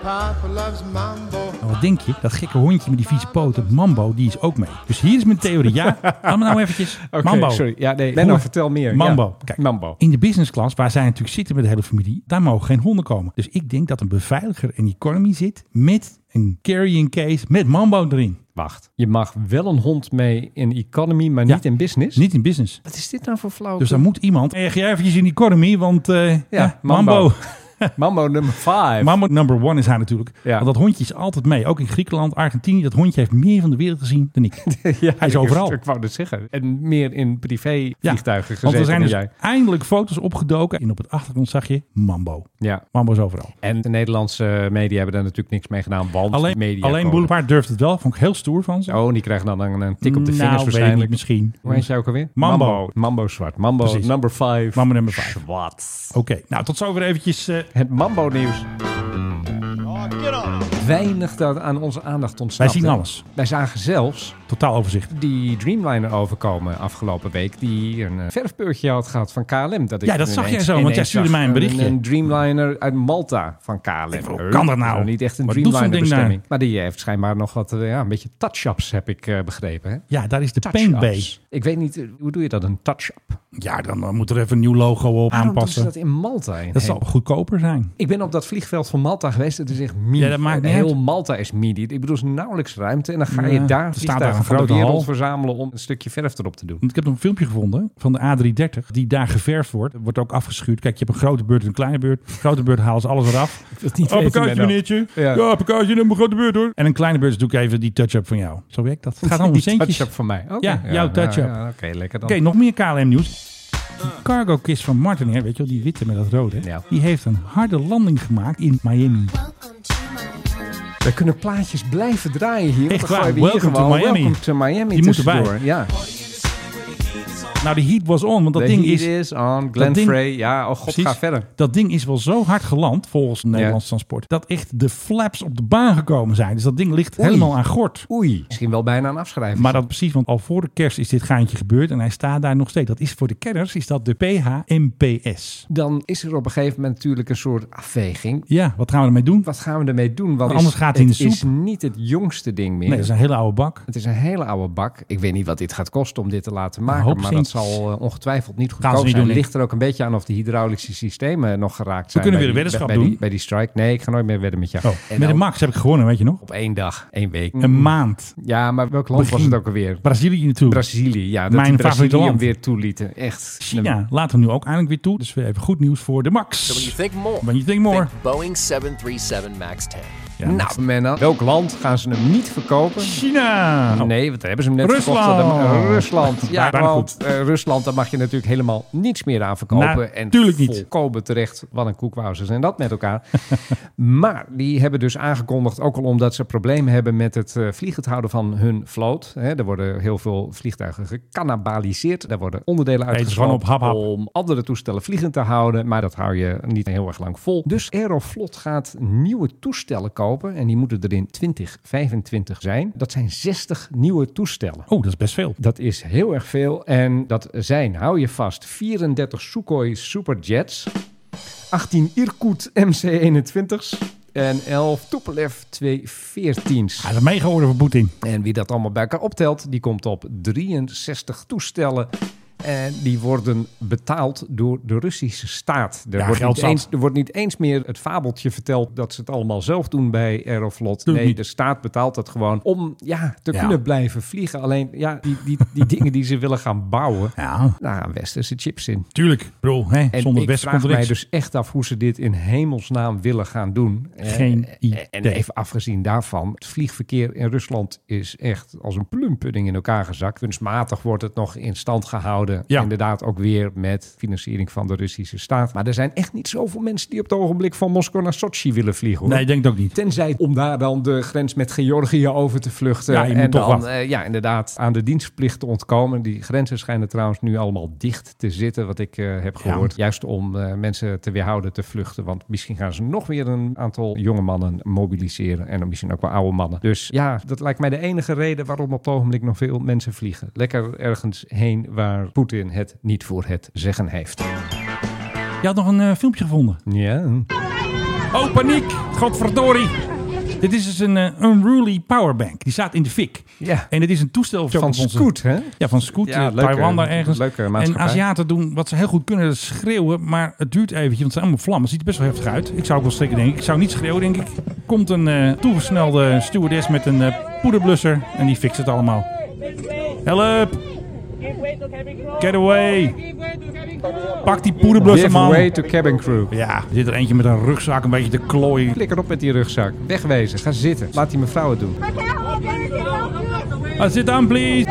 Speaker 13: Papa loves mambo.
Speaker 5: Nou, wat denk je? Dat gekke hondje met die vieze poten, Mambo, die is ook mee. Dus hier is mijn theorie. Ja, laat me nou eventjes.
Speaker 11: (laughs) Oké,
Speaker 5: Mambo.
Speaker 11: sorry. Ja, nee,
Speaker 5: Hoe-
Speaker 11: Menno, vertel meer.
Speaker 5: Mambo.
Speaker 11: Ja.
Speaker 5: Kijk,
Speaker 11: Mambo.
Speaker 5: in de business class, waar zij natuurlijk zitten met de hele familie, daar mogen geen honden komen. Dus ik denk dat een beveiliger in economy zit met een carrying case met Mambo erin.
Speaker 11: Wacht. Je mag wel een hond mee in economy, maar niet in business?
Speaker 5: Dus Niet in business.
Speaker 11: Wat is dit nou voor flauw?
Speaker 5: Dus daar moet iemand. Hey, ga jij eventjes in economy, want eh, ja, Mambo.
Speaker 11: (laughs) Mambo nummer 5. (laughs)
Speaker 5: Mambo number one is hij natuurlijk. Want dat hondje is altijd mee. Ook in Griekenland, Argentinië. Dat hondje heeft meer van de wereld gezien dan ik.
Speaker 11: (laughs)
Speaker 5: hij is overal.
Speaker 11: Ik wou dat zeggen. En meer in privé vliegtuigen gezeten
Speaker 5: Want er zijn
Speaker 11: dan
Speaker 5: dus
Speaker 11: jij.
Speaker 5: eindelijk foto's opgedoken. En op het achtergrond zag je Mambo.
Speaker 11: Ja.
Speaker 5: Mambo is overal.
Speaker 11: En de Nederlandse media hebben daar natuurlijk niks mee gedaan, want
Speaker 5: Alleen,
Speaker 11: media
Speaker 5: alleen
Speaker 11: code.
Speaker 5: Boulevard durft het wel. Vond ik heel stoer van ze.
Speaker 11: Oh, en die krijgen dan een, een tik op de
Speaker 5: Nou,
Speaker 11: vingers
Speaker 5: weet ik
Speaker 11: waarschijnlijk.
Speaker 5: niet, misschien.
Speaker 11: Hoe heet jij ook alweer?
Speaker 5: Mambo.
Speaker 11: Mambo, Mambo zwart. Mambo
Speaker 5: Precies.
Speaker 11: number 5.
Speaker 5: Mambo nummer 5.
Speaker 11: Zwart.
Speaker 5: Oké, nou tot zover eventjes...
Speaker 11: het Mambo nieuws. Weinig dat aan onze aandacht ontsnapt.
Speaker 5: Wij zien
Speaker 11: hè?
Speaker 5: alles.
Speaker 11: Wij zagen zelfs...
Speaker 5: Totaal overzicht.
Speaker 11: Die Dreamliner overkomen afgelopen week. Die een eh, verfbeurtje had gehad van KLM. Dat ik
Speaker 5: Ja, dat zag
Speaker 11: ineens-
Speaker 5: jij zo, want
Speaker 11: ineens
Speaker 5: jij stuurde
Speaker 11: zag
Speaker 5: mij een berichtje.
Speaker 11: Een Dreamliner uit Malta van KLM. hoe
Speaker 5: kan dat nou?
Speaker 11: Niet echt een
Speaker 5: Wat doet zo'n ding
Speaker 11: Dreamliner
Speaker 5: nou?
Speaker 11: bestemming. Maar die heeft schijnbaar nog wat, eh, ja, een beetje touch-ups heb ik eh, begrepen. Hè?
Speaker 5: Ja, daar is de
Speaker 11: Touch-ups.
Speaker 5: Paint Bay.
Speaker 11: Ik weet niet, eh, hoe doe je dat? Een touch-up?
Speaker 5: Ja, dan eh, moet er even een nieuw logo op
Speaker 11: Waarom
Speaker 5: aanpassen.
Speaker 11: doen ze dat in Malta heen?
Speaker 5: Dat zal goedkoper zijn.
Speaker 11: Ik ben op dat vliegveld van Malta geweest. Het is echt mini.
Speaker 5: Ja, dat maakt niet
Speaker 11: Heel
Speaker 5: uit.
Speaker 11: Malta is mini. Ik bedoel, er is nauwelijks ruimte. En dan ga je
Speaker 5: Ja,
Speaker 11: daar
Speaker 5: er staat
Speaker 11: vliegtuigen
Speaker 5: daar een
Speaker 11: van de
Speaker 5: grote
Speaker 11: wereld
Speaker 5: hal.
Speaker 11: verzamelen om een stukje verf erop te doen.
Speaker 5: Want ik heb nog een filmpje gevonden van de A330 die daar geverfd wordt. Wordt ook afgeschuurd. Kijk, je hebt een grote beurt en een kleine beurt. Een grote beurt halen ze alles
Speaker 11: (laughs)
Speaker 5: eraf.
Speaker 11: wil het niet
Speaker 5: Applicatie,
Speaker 11: weten, Menno.
Speaker 5: meneertje.
Speaker 11: Ja.
Speaker 5: Ja, applicatie, een grote beurt hoor. En een kleine beurt is natuurlijk even die touch-up van jou. Zo werkt dat. Het gaat allemaal om
Speaker 11: (laughs) Die
Speaker 5: centjes.
Speaker 11: touch-up van mij. Oké.
Speaker 5: Ja,
Speaker 11: Ja,
Speaker 5: jouw
Speaker 11: ja,
Speaker 5: touch-up.
Speaker 11: ja, oké, lekker dan.
Speaker 5: Oké, nog meer KLM nieuws. Die cargo kist van Martin, hè, weet je wel, die witte met dat rode. Die heeft een harde landing gemaakt in Miami.
Speaker 11: We kunnen plaatjes blijven draaien hier.
Speaker 5: Echt
Speaker 11: Dan
Speaker 5: waar,
Speaker 11: gooien we hier
Speaker 5: welcome to
Speaker 11: gewoon
Speaker 5: Miami.
Speaker 11: Welcome to Miami
Speaker 5: Die moeten
Speaker 11: tussendoor.
Speaker 5: bij.
Speaker 11: Ja.
Speaker 5: Nou, die heat was on, want dat
Speaker 11: The
Speaker 5: ding
Speaker 11: heat
Speaker 5: is...
Speaker 11: is on.
Speaker 5: dat
Speaker 11: Glenn
Speaker 5: ding-
Speaker 11: Frey. Ja, oh god,
Speaker 5: Precies.
Speaker 11: ga verder.
Speaker 5: Dat ding is wel zo hard geland, volgens het Nederlands transport, dat echt de flaps op de baan gekomen zijn. Dus dat ding ligt
Speaker 11: Oei.
Speaker 5: helemaal aan gort.
Speaker 11: Oei, misschien wel bijna een afschrijving.
Speaker 5: Maar dat precies, want al voor de kerst is dit gaantje gebeurd en hij staat daar nog steeds. Dat is voor de kenners, is dat de PHMPS.
Speaker 11: Dan is er op een gegeven moment natuurlijk een soort afweging.
Speaker 5: Ja, wat gaan we ermee doen?
Speaker 11: Wat gaan we ermee doen? Want
Speaker 5: Want anders gaat hij in de soep.
Speaker 11: Het is niet het jongste ding meer.
Speaker 5: Nee, dat is een hele oude bak.
Speaker 11: Het is een hele oude bak. Ik weet niet wat dit gaat kosten om dit te laten maken.
Speaker 5: hoop
Speaker 11: Maar dat
Speaker 5: zin.
Speaker 11: zal eh, ongetwijfeld niet
Speaker 5: ze
Speaker 11: goedkoop
Speaker 5: niet
Speaker 11: zijn.
Speaker 5: doen,
Speaker 11: Het
Speaker 5: denk
Speaker 11: ligt er ook een beetje aan of de hydraulische systemen nog geraakt zijn.
Speaker 5: kunnen
Speaker 11: bij
Speaker 5: weer een
Speaker 11: die-
Speaker 5: weddenschap
Speaker 11: bij, Bij
Speaker 5: doen.
Speaker 11: die, bij die strike. Nee, ik ga nooit meer wedden met jou.
Speaker 5: Oh,
Speaker 11: En
Speaker 5: met de
Speaker 11: ook
Speaker 5: Max heb ik gewonnen, weet je nog?
Speaker 11: Op één dag, één week.
Speaker 5: Een maand.
Speaker 11: Ja, maar welk land was
Speaker 5: Begin.
Speaker 11: het ook alweer?
Speaker 5: Brazilië natuurlijk.
Speaker 11: Brazilië, ja. Dat
Speaker 5: Mijn
Speaker 11: Mijn
Speaker 5: favoriete
Speaker 11: Brazilië hem
Speaker 5: land.
Speaker 11: weer toelieten. Echt.
Speaker 5: China laat hem nu ook eindelijk weer toe. Dus we hebben goed nieuws voor de Max.
Speaker 14: So when you think more,
Speaker 5: When you think more.
Speaker 14: think Boeing 737 MAX 10.
Speaker 11: nou, Menno, welk land gaan ze hem niet verkopen?
Speaker 5: China!
Speaker 11: Nee, want daar hebben ze hem net
Speaker 5: Nou. Rusland. Oh.
Speaker 11: verkocht. aan de- eh, Rusland. Ja,
Speaker 5: Bijna
Speaker 11: want eh, Rusland, daar mag je natuurlijk helemaal niets meer aan verkopen. En
Speaker 5: Natuurlijk niet.
Speaker 11: volkomen terecht. Wat een koekwauzers en dat met elkaar. maar die hebben dus aangekondigd, ook al omdat ze problemen hebben met het eh, vliegend houden van hun vloot. Hè, er worden heel veel vliegtuigen gecannibaliseerd. Daar worden onderdelen
Speaker 5: Eten ze gewoon
Speaker 11: uitgesloten
Speaker 5: op hap, hap.
Speaker 11: om andere toestellen vliegend te houden. Maar dat hou je niet heel erg lang vol. Dus Aeroflot gaat nieuwe toestellen kopen. En die moeten er in 2025 zijn. Dat zijn 60 nieuwe toestellen.
Speaker 5: Oh, dat is best veel.
Speaker 11: Dat is heel erg veel. En dat zijn, hou je vast, 34 Sukhoi Superjets. 18 Irkut MC-21's. En 11 Tupolev 214's.
Speaker 5: Hij is mega orde voor Poetin.
Speaker 11: En wie dat allemaal bij elkaar optelt, die komt op 63 toestellen. En die worden betaald door de Russische staat. Er,
Speaker 5: Ja,
Speaker 11: wordt,
Speaker 5: geld
Speaker 11: niet
Speaker 5: zat.
Speaker 11: eens, er wordt niet eens meer het fabeltje verteld dat ze het allemaal zelf doen bij Aeroflot.
Speaker 5: Tuurlijk
Speaker 11: nee,
Speaker 5: niet.
Speaker 11: de staat betaalt dat gewoon om ja, te
Speaker 5: Ja.
Speaker 11: kunnen blijven vliegen. Alleen ja, die, die, die (laughs) dingen die ze willen gaan bouwen,
Speaker 5: ja.
Speaker 11: daar gaan westerse chips in.
Speaker 5: Tuurlijk, bro. Hè,
Speaker 11: En
Speaker 5: zonder
Speaker 11: ik
Speaker 5: Westen
Speaker 11: vraag
Speaker 5: komt er
Speaker 11: mij
Speaker 5: niks.
Speaker 11: dus echt af hoe ze dit in hemelsnaam willen gaan doen. Eh,
Speaker 5: Geen
Speaker 11: eh,
Speaker 5: idee.
Speaker 11: En even afgezien daarvan, het vliegverkeer in Rusland is echt als een plumpudding in elkaar gezakt. Kunstmatig wordt het nog in stand gehouden.
Speaker 5: Ja.
Speaker 11: Inderdaad ook weer met financiering van de Russische staat. Maar er zijn echt niet zoveel mensen die op het ogenblik van Moskou naar Sochi willen vliegen. Hoor.
Speaker 5: Nee, ik denk het ook niet.
Speaker 11: Tenzij om daar dan de grens met Georgië over te vluchten.
Speaker 5: Ja, je moet
Speaker 11: en
Speaker 5: toch
Speaker 11: dan,
Speaker 5: wat.
Speaker 11: eh, ja, inderdaad aan de dienstplicht te ontkomen. Die grenzen schijnen trouwens nu allemaal dicht te zitten, wat ik eh, heb
Speaker 5: Ja.
Speaker 11: gehoord. Juist om eh, mensen te weerhouden te vluchten. Want misschien gaan ze nog weer een aantal jonge mannen mobiliseren. En dan misschien ook wel oude mannen. Dus ja, dat lijkt mij de enige reden waarom op het ogenblik nog veel mensen vliegen. Lekker ergens heen waar Poetin het niet voor het zeggen heeft.
Speaker 5: Je had nog een eh, filmpje gevonden.
Speaker 11: Ja.
Speaker 5: Oh, paniek! Het Godverdorie. Dit is dus een eh, unruly powerbank. Die staat in de fik.
Speaker 11: Ja.
Speaker 5: En het is een toestel
Speaker 11: Van Scoot, hè?
Speaker 5: Ja, van Scoot.
Speaker 11: Ja,
Speaker 5: eh,
Speaker 11: leuke-
Speaker 5: Taiwan daar ergens.
Speaker 11: leuke
Speaker 5: en
Speaker 11: maatschappij.
Speaker 5: Aziaten doen wat ze heel goed kunnen, dat is schreeuwen. Maar het duurt eventjes, want het zijn allemaal vlammen. Het ziet er best wel heftig uit. Ik zou ook wel schrikken, denk ik. Ik zou niet schreeuwen, denk ik. Komt een eh, toegesnelde stewardess met een eh, poederblusser. En die fixt het allemaal. Help! Get away! Pak die poederblusser,
Speaker 11: Give
Speaker 5: man.
Speaker 11: way to cabin crew.
Speaker 5: Ja, er zit er eentje met een rugzak een beetje te klooien.
Speaker 11: Flikker op met die rugzak. Wegwezen. Ga zitten. Laat die mevrouw het doen.
Speaker 5: Ah, sit down, please.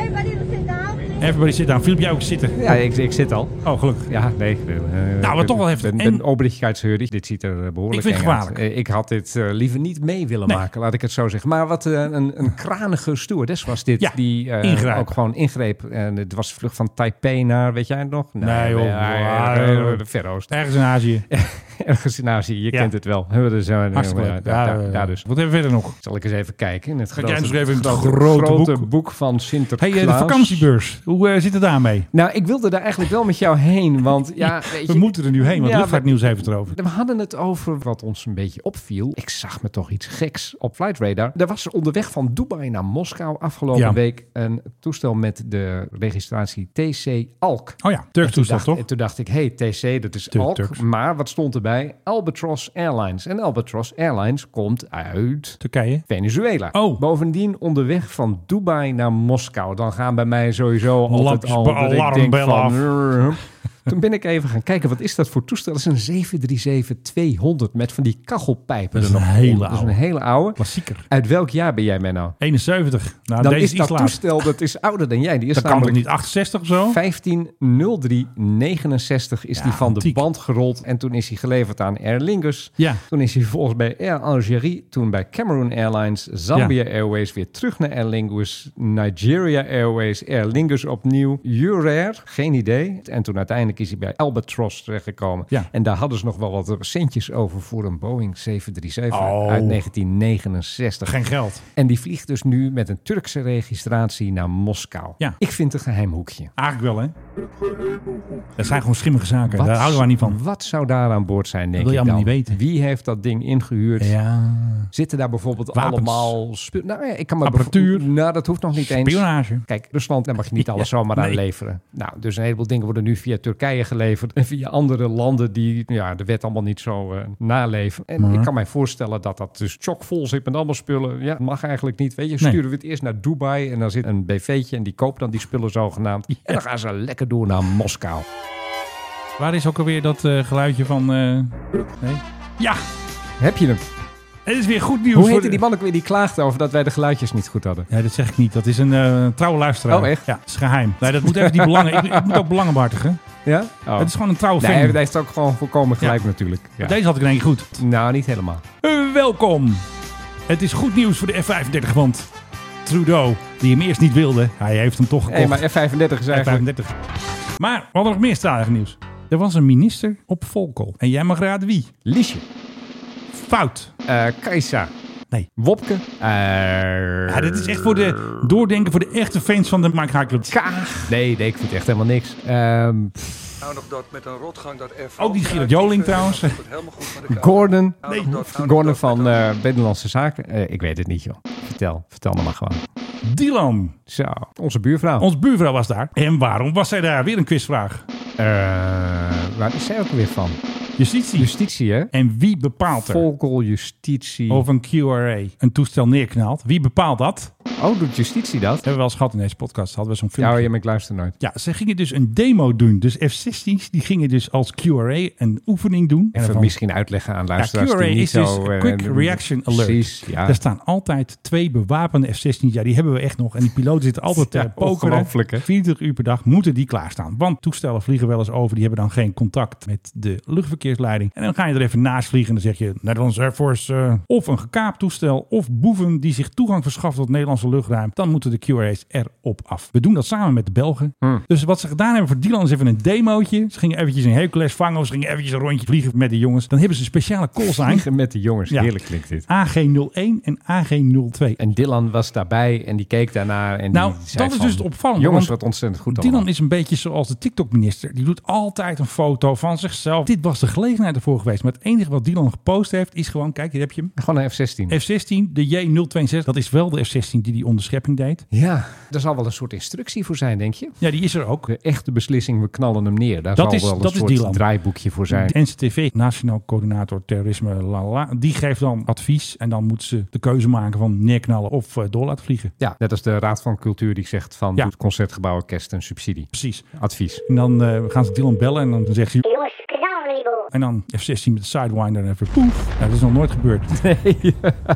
Speaker 5: Everybody sit down. Filip, jij ook zitten?
Speaker 11: Ja, ik, ik zit al.
Speaker 5: Oh, gelukkig.
Speaker 11: Ja, nee. ik ben, eh,
Speaker 5: Nou, wat
Speaker 11: ben-
Speaker 5: toch wel heftig.
Speaker 11: ben-
Speaker 5: En-
Speaker 11: ben oprechtvaardigheidsheurig. Dit ziet er eh, behoorlijk
Speaker 5: Ik vind het
Speaker 11: eng uit.
Speaker 5: gevaarlijk.
Speaker 11: Eh, Ik had dit eh, liever niet mee willen
Speaker 5: Nee.
Speaker 11: maken, laat ik het zo zeggen. Maar wat eh, een, een kranige stewardess was dit.
Speaker 5: Ja,
Speaker 11: die eh,
Speaker 5: ingrijpen.
Speaker 11: ook gewoon ingreep. En het was de vlucht van Taipei naar, weet jij het nog?
Speaker 5: Nee, joh.
Speaker 11: ja,
Speaker 5: Ah,
Speaker 11: eh,
Speaker 5: eh,
Speaker 11: de Verre Oosten. (laughs)
Speaker 5: Ergens in Azië.
Speaker 11: Ergens in Azië, je kent het wel. Hè, we zijn-
Speaker 5: Hartstikke
Speaker 11: ja,
Speaker 5: leuk.
Speaker 11: ja,
Speaker 5: Ja,
Speaker 11: ja,
Speaker 5: eh,
Speaker 11: ja, dus.
Speaker 5: Wat hebben we verder nog?
Speaker 11: Zal ik eens even kijken. in Het
Speaker 5: Kijk
Speaker 11: grote,
Speaker 5: jij eens even in het grote
Speaker 11: grote,
Speaker 5: boek.
Speaker 11: boek. van Sinterklaas.
Speaker 5: hey, eh, de vakantiebeurs. Hoe eh, zit het daarmee?
Speaker 11: Nou, ik wilde daar eigenlijk wel met jou heen, want (laughs) ja, weet
Speaker 5: we
Speaker 11: je-
Speaker 5: moeten er nu heen, want
Speaker 11: Ja,
Speaker 5: luchtvaartnieuws heeft het erover.
Speaker 11: We hadden het over wat ons een beetje opviel. Ik zag me toch iets geks op Flight Radar. Er was onderweg van Dubai naar Moskou afgelopen
Speaker 5: Ja.
Speaker 11: week een toestel met de registratie TC Alk.
Speaker 5: Oh ja, Turks
Speaker 11: En toen
Speaker 5: toestel,
Speaker 11: dacht-
Speaker 5: toch?
Speaker 11: En toen dacht ik, hey, TC, dat is Alk.
Speaker 5: Turks.
Speaker 11: Maar wat stond erbij? Albatros Airlines. En Albatros Airlines komt uit...
Speaker 5: Turkije?
Speaker 11: Venezuela. Oh. Bovendien onderweg van Dubai naar Moskou. Dan gaan bij mij sowieso altijd
Speaker 5: Lampjes,
Speaker 11: al... dat ik denk
Speaker 5: alarmbellen
Speaker 11: van, uh,
Speaker 5: af.
Speaker 11: toen ben ik even gaan kijken, wat is dat voor toestel? Dat is een 737-200 met van die kachelpijpen.
Speaker 5: Dat is
Speaker 11: er
Speaker 5: een
Speaker 11: nog
Speaker 5: hele
Speaker 11: onder. Dat is een
Speaker 5: oude.
Speaker 11: hele oude.
Speaker 5: Klassieker.
Speaker 11: Uit welk jaar ben jij, Menno?
Speaker 5: 71. Nou,
Speaker 11: dan
Speaker 5: deze
Speaker 11: is
Speaker 5: is
Speaker 11: dat
Speaker 5: laat.
Speaker 11: toestel, dat is ouder dan jij. Die is
Speaker 5: Dat kan toch
Speaker 11: namelijk
Speaker 5: niet 68 of zo?
Speaker 11: 150369 is die van de band gerold. En toen is hij geleverd aan Aer Lingus.
Speaker 5: Ja.
Speaker 11: Toen is hij volgens bij Air Algerie. Toen bij Cameroon Airlines. Zambia Airways weer terug naar Aer Lingus. Nigeria Airways. Aer Lingus opnieuw. Eurair. Geen idee. En toen uiteindelijk is hij bij Albatros terechtgekomen.
Speaker 5: Ja.
Speaker 11: En daar hadden ze nog wel wat centjes over voor een Boeing 737
Speaker 5: Oh.
Speaker 11: uit 1969.
Speaker 5: Geen geld.
Speaker 11: En die vliegt dus nu met een Turkse registratie naar Moskou.
Speaker 5: Ja.
Speaker 11: Ik vind het een geheim hoekje.
Speaker 5: Eigenlijk wel, hè? Dat zijn gewoon schimmige zaken.
Speaker 11: Wat-
Speaker 5: Daar houden we niet van.
Speaker 11: Wat zou daar aan boord zijn, denk
Speaker 5: wil je
Speaker 11: ik
Speaker 5: allemaal
Speaker 11: dan?
Speaker 5: niet
Speaker 11: Wie heeft dat ding ingehuurd?
Speaker 5: Ja.
Speaker 11: Zitten daar bijvoorbeeld
Speaker 5: Wapens.
Speaker 11: allemaal... spu- Nou ja, ik kan me
Speaker 5: Apparatuur.
Speaker 11: bevo- Nou, dat hoeft nog niet eens.
Speaker 5: Spionage.
Speaker 11: Kijk, Rusland, daar mag je niet alles
Speaker 5: Ja,
Speaker 11: zomaar aan
Speaker 5: nee.
Speaker 11: leveren. Nou, dus een heleboel dingen worden nu via Turkije geleverd. En via andere landen die ja, de wet allemaal niet zo eh, naleven. En
Speaker 5: Mhm.
Speaker 11: ik kan mij voorstellen dat dat dus chockvol zit met allemaal spullen. Ja, mag eigenlijk niet. Weet je,
Speaker 5: Nee.
Speaker 11: sturen we het eerst naar Dubai. En daar zit een BV'tje en die koopt dan die spullen zogenaamd. En dan gaan ze lekker door naar Moskou.
Speaker 5: Waar is ook alweer dat eh, geluidje van... eh, Nee? Ja!
Speaker 11: Heb je hem?
Speaker 5: Het is weer goed nieuws.
Speaker 11: Hoe
Speaker 5: voor
Speaker 11: heette
Speaker 5: de-
Speaker 11: die man ook weer die klaagde over dat wij de geluidjes niet goed hadden?
Speaker 5: Ja, dat zeg ik niet. Dat is een eh, trouwe luisteraar.
Speaker 11: Oh, echt?
Speaker 5: Ja, dat is geheim. Nee, dat moet even die belangen... ik, ik moet ook belangen behartigen.
Speaker 11: Ja? Oh.
Speaker 5: Het is gewoon een trouwe
Speaker 11: Nee,
Speaker 5: fan.
Speaker 11: hij heeft ook gewoon volkomen gelijk natuurlijk. Ja.
Speaker 5: Deze had ik in één keer goed.
Speaker 11: Nou, niet helemaal.
Speaker 5: Eh, welkom. Het is goed nieuws voor de F-35, want Trudeau, die hem eerst niet wilde, hij heeft hem toch
Speaker 11: Nee,
Speaker 5: gekocht.
Speaker 11: maar F35 is eigenlijk...
Speaker 5: F-35. Maar we hadden nog meer stalig nieuws. Er was een minister op Volkel. En jij mag raden wie.
Speaker 11: Liesje.
Speaker 5: Fout.
Speaker 11: Eh Kajsa.
Speaker 5: Nee.
Speaker 11: Wopke. Eh,
Speaker 5: Ja, dit is echt voor de doordenken voor de echte fans van de Mike High Club.
Speaker 11: Nee, nee, ik vind echt helemaal niks. Ehm,
Speaker 5: Ook niet Gerard Joling trouwens. eh,
Speaker 11: Gordon.
Speaker 5: oh,
Speaker 11: Gordon van eh, Binnenlandse Zaken. Eh, ik weet het niet, joh. Vertel. Vertel me maar gewoon.
Speaker 5: Dylan.
Speaker 11: Zo. Onze buurvrouw.
Speaker 5: Ons buurvrouw was daar. En waarom was zij daar? Weer een quizvraag.
Speaker 11: Eh, waar is zij ook weer van?
Speaker 5: Justitie.
Speaker 11: Justitie, hè?
Speaker 5: En wie bepaalt er
Speaker 11: Volkel Justitie.
Speaker 5: of een QRA een toestel neerknaalt? Wie bepaalt dat?
Speaker 11: Oh, doet Justitie dat?
Speaker 5: Hebben we wel eens gehad in deze podcast. Hadden we zo'n filmpje.
Speaker 11: Ja, oh, ja, maar ik luister nooit.
Speaker 5: Ja, ze gingen dus een demo doen. Dus F-16's die gingen dus als QRA een oefening doen.
Speaker 11: Even
Speaker 5: daarvan-
Speaker 11: misschien uitleggen aan
Speaker 5: ja,
Speaker 11: luisteraars
Speaker 5: QRA
Speaker 11: die niet
Speaker 5: is dus
Speaker 11: zo... eh,
Speaker 5: Quick Reaction Alert.
Speaker 11: Precies, ja.
Speaker 5: Daar staan altijd twee bewapende F-16's. Ja, die hebben we echt nog. En die piloten zitten altijd te
Speaker 11: Ja,
Speaker 5: pokeren.
Speaker 11: ongelooflijk, hè?
Speaker 5: 24 uur per dag moeten die klaarstaan. Want toestellen vliegen wel eens over. Die hebben dan geen contact met de luchtverkeersleiding. En dan ga je er even naast vliegen. En dan zeg je Nederlandse Air Force. eh, of een gekaapt toestel. Of boeven die zich toegang verschaffen tot Nederlandse luchtruim, dan moeten de QRA's erop af. We doen dat samen met de Belgen. Dus wat ze gedaan hebben voor Dylan is even een demootje. Ze gingen eventjes een Hercules vangen of ze gingen eventjes een rondje vliegen met de jongens. Dan hebben ze een speciale callsign.
Speaker 11: (laughs) Vliegen met de jongens, heerlijk klinkt dit.
Speaker 5: AG01 en AG02.
Speaker 11: En Dylan was daarbij en die keek daarnaar. En
Speaker 5: Nou,
Speaker 11: die zei
Speaker 5: dat is
Speaker 11: van,
Speaker 5: dus het opvallende.
Speaker 11: Jongens,
Speaker 5: want
Speaker 11: wat ontzettend goed
Speaker 5: Dylan
Speaker 11: allemaal.
Speaker 5: is een beetje zoals de TikTok-minister. Die doet altijd een foto van zichzelf. Dit was de gelegenheid ervoor geweest. Maar het enige wat Dylan gepost heeft is gewoon... Kijk, hier heb je hem.
Speaker 11: Gewoon een F-16.
Speaker 5: F-16, de J062. Dat is wel de F-16 die die onderschepping deed.
Speaker 11: Ja, daar zal wel een soort instructie voor zijn, denk je?
Speaker 5: Ja, die is er ook.
Speaker 11: De echte beslissing, we knallen hem neer. Daar zal wel een soort draaiboekje voor zijn.
Speaker 5: De NCTV, Nationaal Coördinator Terrorisme, la, la, la, die geeft dan advies. En dan moet ze de keuze maken van neerknallen of eh, door laten vliegen.
Speaker 11: Ja, net als de Raad van Cultuur die zegt van
Speaker 5: Ja.
Speaker 11: doet Concertgebouworkest een subsidie.
Speaker 5: Precies.
Speaker 11: Advies.
Speaker 5: En dan eh, gaan ze Dylan bellen en dan zegt hij...
Speaker 15: Jongens, knallenriebel.
Speaker 5: En dan F-16 met de Sidewinder en even poef. Nou, dat is nog nooit
Speaker 11: (laughs)
Speaker 5: gebeurd. (laughs)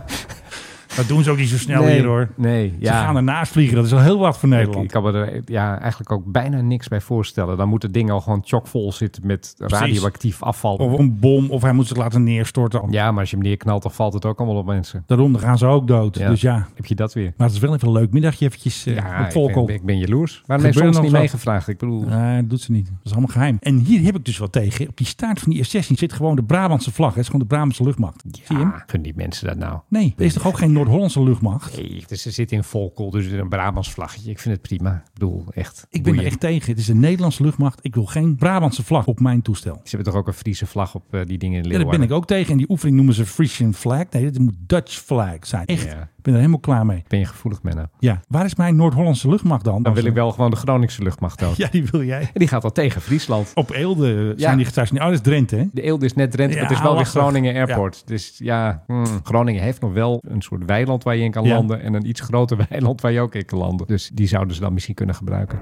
Speaker 5: Dat doen ze ook niet zo snel
Speaker 11: Nee,
Speaker 5: hier hoor.
Speaker 11: nee,
Speaker 5: Ze
Speaker 11: ja.
Speaker 5: gaan ernaast vliegen. Dat is al heel wat voor Nederland.
Speaker 11: Ik kan me er ja, eigenlijk ook bijna niks bij voorstellen. Dan moeten dingen al gewoon chockvol zitten met
Speaker 5: Precies. Oh,
Speaker 11: radioactief afval.
Speaker 5: Of een bom, of hij moet zich laten neerstorten.
Speaker 11: Ja, maar als je hem neerknalt, dan valt het ook allemaal op mensen.
Speaker 5: Daarom dan gaan ze ook dood. Dus ja.
Speaker 11: Heb je dat weer?
Speaker 5: Maar het is wel even een leuk middagje eventjes eh,
Speaker 11: Ja,
Speaker 5: op
Speaker 11: ik ben,
Speaker 5: volkoop.
Speaker 11: ik ben jaloers. Waarom heeft ze
Speaker 5: Gebeurt
Speaker 11: ons
Speaker 5: nog
Speaker 11: niet
Speaker 5: wat?
Speaker 11: meegevraagd? Ik bedoel...
Speaker 5: Nee, dat doet ze niet. Dat is allemaal geheim. En hier heb ik dus wat tegen. Op die staart van die F-16 zit gewoon de Brabantse vlag. Het is gewoon de Brabantse luchtmacht. Zie je hem?
Speaker 11: Gun die mensen dat nou?
Speaker 5: Nee, er is toch ook geen Noord-Hollandse luchtmacht?
Speaker 11: Nee, dus ze zitten in Volkel, dus een Brabants vlaggetje. Ik vind het prima. Ik bedoel, echt.
Speaker 5: Ik ben er echt tegen. Het is de Nederlandse luchtmacht. Ik wil geen Brabantse vlag op mijn toestel.
Speaker 11: Ze hebben toch ook een Friese vlag op eh, die dingen in
Speaker 5: Ja, daar
Speaker 11: Leeuwarden?
Speaker 5: ben ik ook tegen. En die oefening noemen ze Frisian flag. Nee, dit moet Dutch flag zijn. Echt.
Speaker 11: Ja.
Speaker 5: Ik ben er helemaal klaar mee.
Speaker 11: Ben je gevoelig, Menno?
Speaker 5: Ja, waar is mijn Noord-Hollandse luchtmacht dan?
Speaker 11: Dan wil ik wel gewoon de Groningse luchtmacht ook.
Speaker 5: Ja, die wil jij. En
Speaker 11: die gaat al tegen
Speaker 5: (laughs)
Speaker 11: Friesland.
Speaker 5: Op Eelde eh, zijn
Speaker 11: Ja.
Speaker 5: die gestationeerd. Oh, dat is Drenthe, hè?
Speaker 11: De Eelde is net Drenthe,
Speaker 5: Ja,
Speaker 11: maar het is wel weer
Speaker 5: lastig.
Speaker 11: Groningen Airport. Dus ja, hmm, Groningen heeft nog wel een soort weiland waar je in kan
Speaker 5: Ja.
Speaker 11: landen. En een iets groter (laughs) weiland waar je ook in kan landen. Dus die zouden ze dan misschien kunnen gebruiken.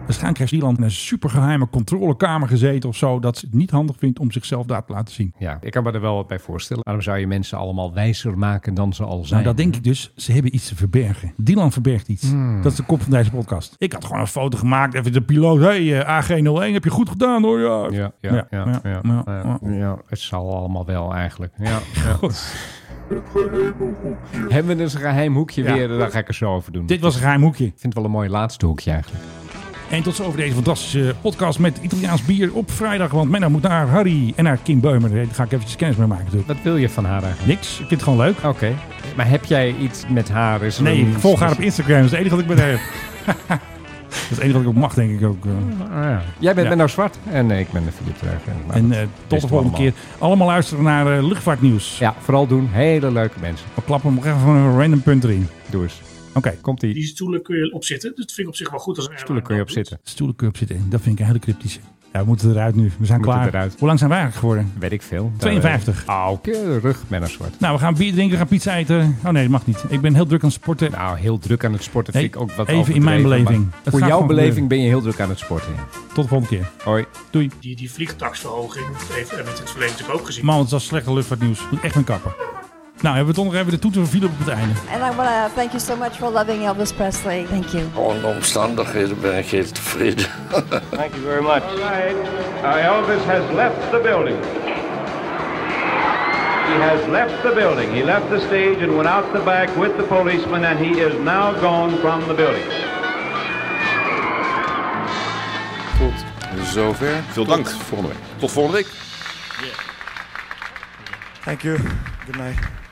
Speaker 5: Waarschijnlijk heeft Ierland in een supergeheime controlekamer gezeten of zo. Dat ze het niet handig vindt om zichzelf daar te laten zien.
Speaker 11: Ja, ik kan me er wel wat bij voorstellen. Waarom zou je mensen allemaal wijzer maken dan ze al zijn?
Speaker 5: Nou, dat denk ik dus. Ze hebben iets te verbergen. Dylan verbergt iets.
Speaker 11: Hmm.
Speaker 5: Dat is de kop van deze podcast. Ik had gewoon een foto gemaakt. Even de piloot. hey, eh, AG01 heb je goed gedaan hoor. Ja,
Speaker 11: Ja, ja, ja, ja, ja,
Speaker 5: ja,
Speaker 11: ja, ja, het zal allemaal wel eigenlijk.
Speaker 5: (laughs)
Speaker 11: Ja, ja. Hebben we dus een geheim hoekje
Speaker 5: Ja.
Speaker 11: weer? Daar ga ik er zo over doen.
Speaker 5: Dit was een geheim hoekje.
Speaker 11: Ik vind het wel een mooi laatste hoekje eigenlijk.
Speaker 5: En tot zover deze fantastische podcast met Italiaans bier op vrijdag. Want Menno moet naar Harry en naar Kim Beumer. Daar ga ik eventjes kennis mee maken natuurlijk.
Speaker 11: Wat wil je van haar eigenlijk?
Speaker 5: Niks. Ik vind het gewoon
Speaker 11: Oh,
Speaker 5: leuk. Oké.
Speaker 11: Maar heb jij iets met haar? Is er
Speaker 5: Nee,
Speaker 11: een-
Speaker 5: ik volg haar op Instagram. Dat is het enige wat ik met haar heb. (laughs) dat is het enige wat ik ook mag, denk ik ook. eh.
Speaker 11: Jij bent
Speaker 5: Ja.
Speaker 11: Menno Zwart en eh, ik ben de Filip Terug.
Speaker 5: En eh, tot de volgende keer. Allemaal luisteren naar eh, luchtvaartnieuws.
Speaker 11: Ja, vooral doen. Hele leuke mensen.
Speaker 5: We klappen hem nog even van een random punt erin.
Speaker 11: Doe eens.
Speaker 5: Oké.
Speaker 11: Komt-ie.
Speaker 3: Die stoelen kun je opzitten. Dat vind ik op zich wel goed. Als een
Speaker 11: Stoelen kun je op zitten.
Speaker 5: Stoelencup zit in. Dat vind ik een hele cryptische. Ja, we moeten eruit nu. We zijn
Speaker 11: Moeten
Speaker 5: klaar.
Speaker 11: eruit.
Speaker 5: Hoe lang zijn we eigenlijk geworden?
Speaker 11: Weet ik veel. Eh, oh,
Speaker 5: 52.
Speaker 11: Auw, keurig Menno Zwart.
Speaker 5: Nou, we gaan bier drinken, we gaan pizza eten. Oh nee, dat mag niet. Ik ben heel druk aan het sporten.
Speaker 11: Nou, heel druk aan het sporten
Speaker 5: Nee,
Speaker 11: vind ik ook wat
Speaker 5: even in mijn
Speaker 11: overdreven,
Speaker 5: beleving.
Speaker 11: maar
Speaker 5: Het
Speaker 11: Voor
Speaker 5: gaat
Speaker 11: jouw
Speaker 5: gewoon
Speaker 11: beleving
Speaker 5: gebeuren.
Speaker 11: ben je heel druk aan het sporten. ja.
Speaker 5: Tot de volgende keer.
Speaker 11: Hoi.
Speaker 5: Doei.
Speaker 3: Die, die vliegtaxverhoging dat heeft Emmet in het verleden natuurlijk ook gezien.
Speaker 5: Man, het was slechte luchtvaartnieuws. Moet echt mijn kappen. Nou, hebben we toch nog even de toeter van Philip op het einde.
Speaker 1: And I want to thank you so much for loving Elvis Presley. Thank you.
Speaker 10: Gewoon de omstandigheden ben ik heel tevreden.
Speaker 16: Thank you very much. All right. Uh, Elvis has left the building. He has left the building. He left the stage and went out the back with the policeman, and he is now gone from the building.
Speaker 8: Tot zover. Veel dank. volgende week. Tot volgende week.
Speaker 17: Thank you. Good night.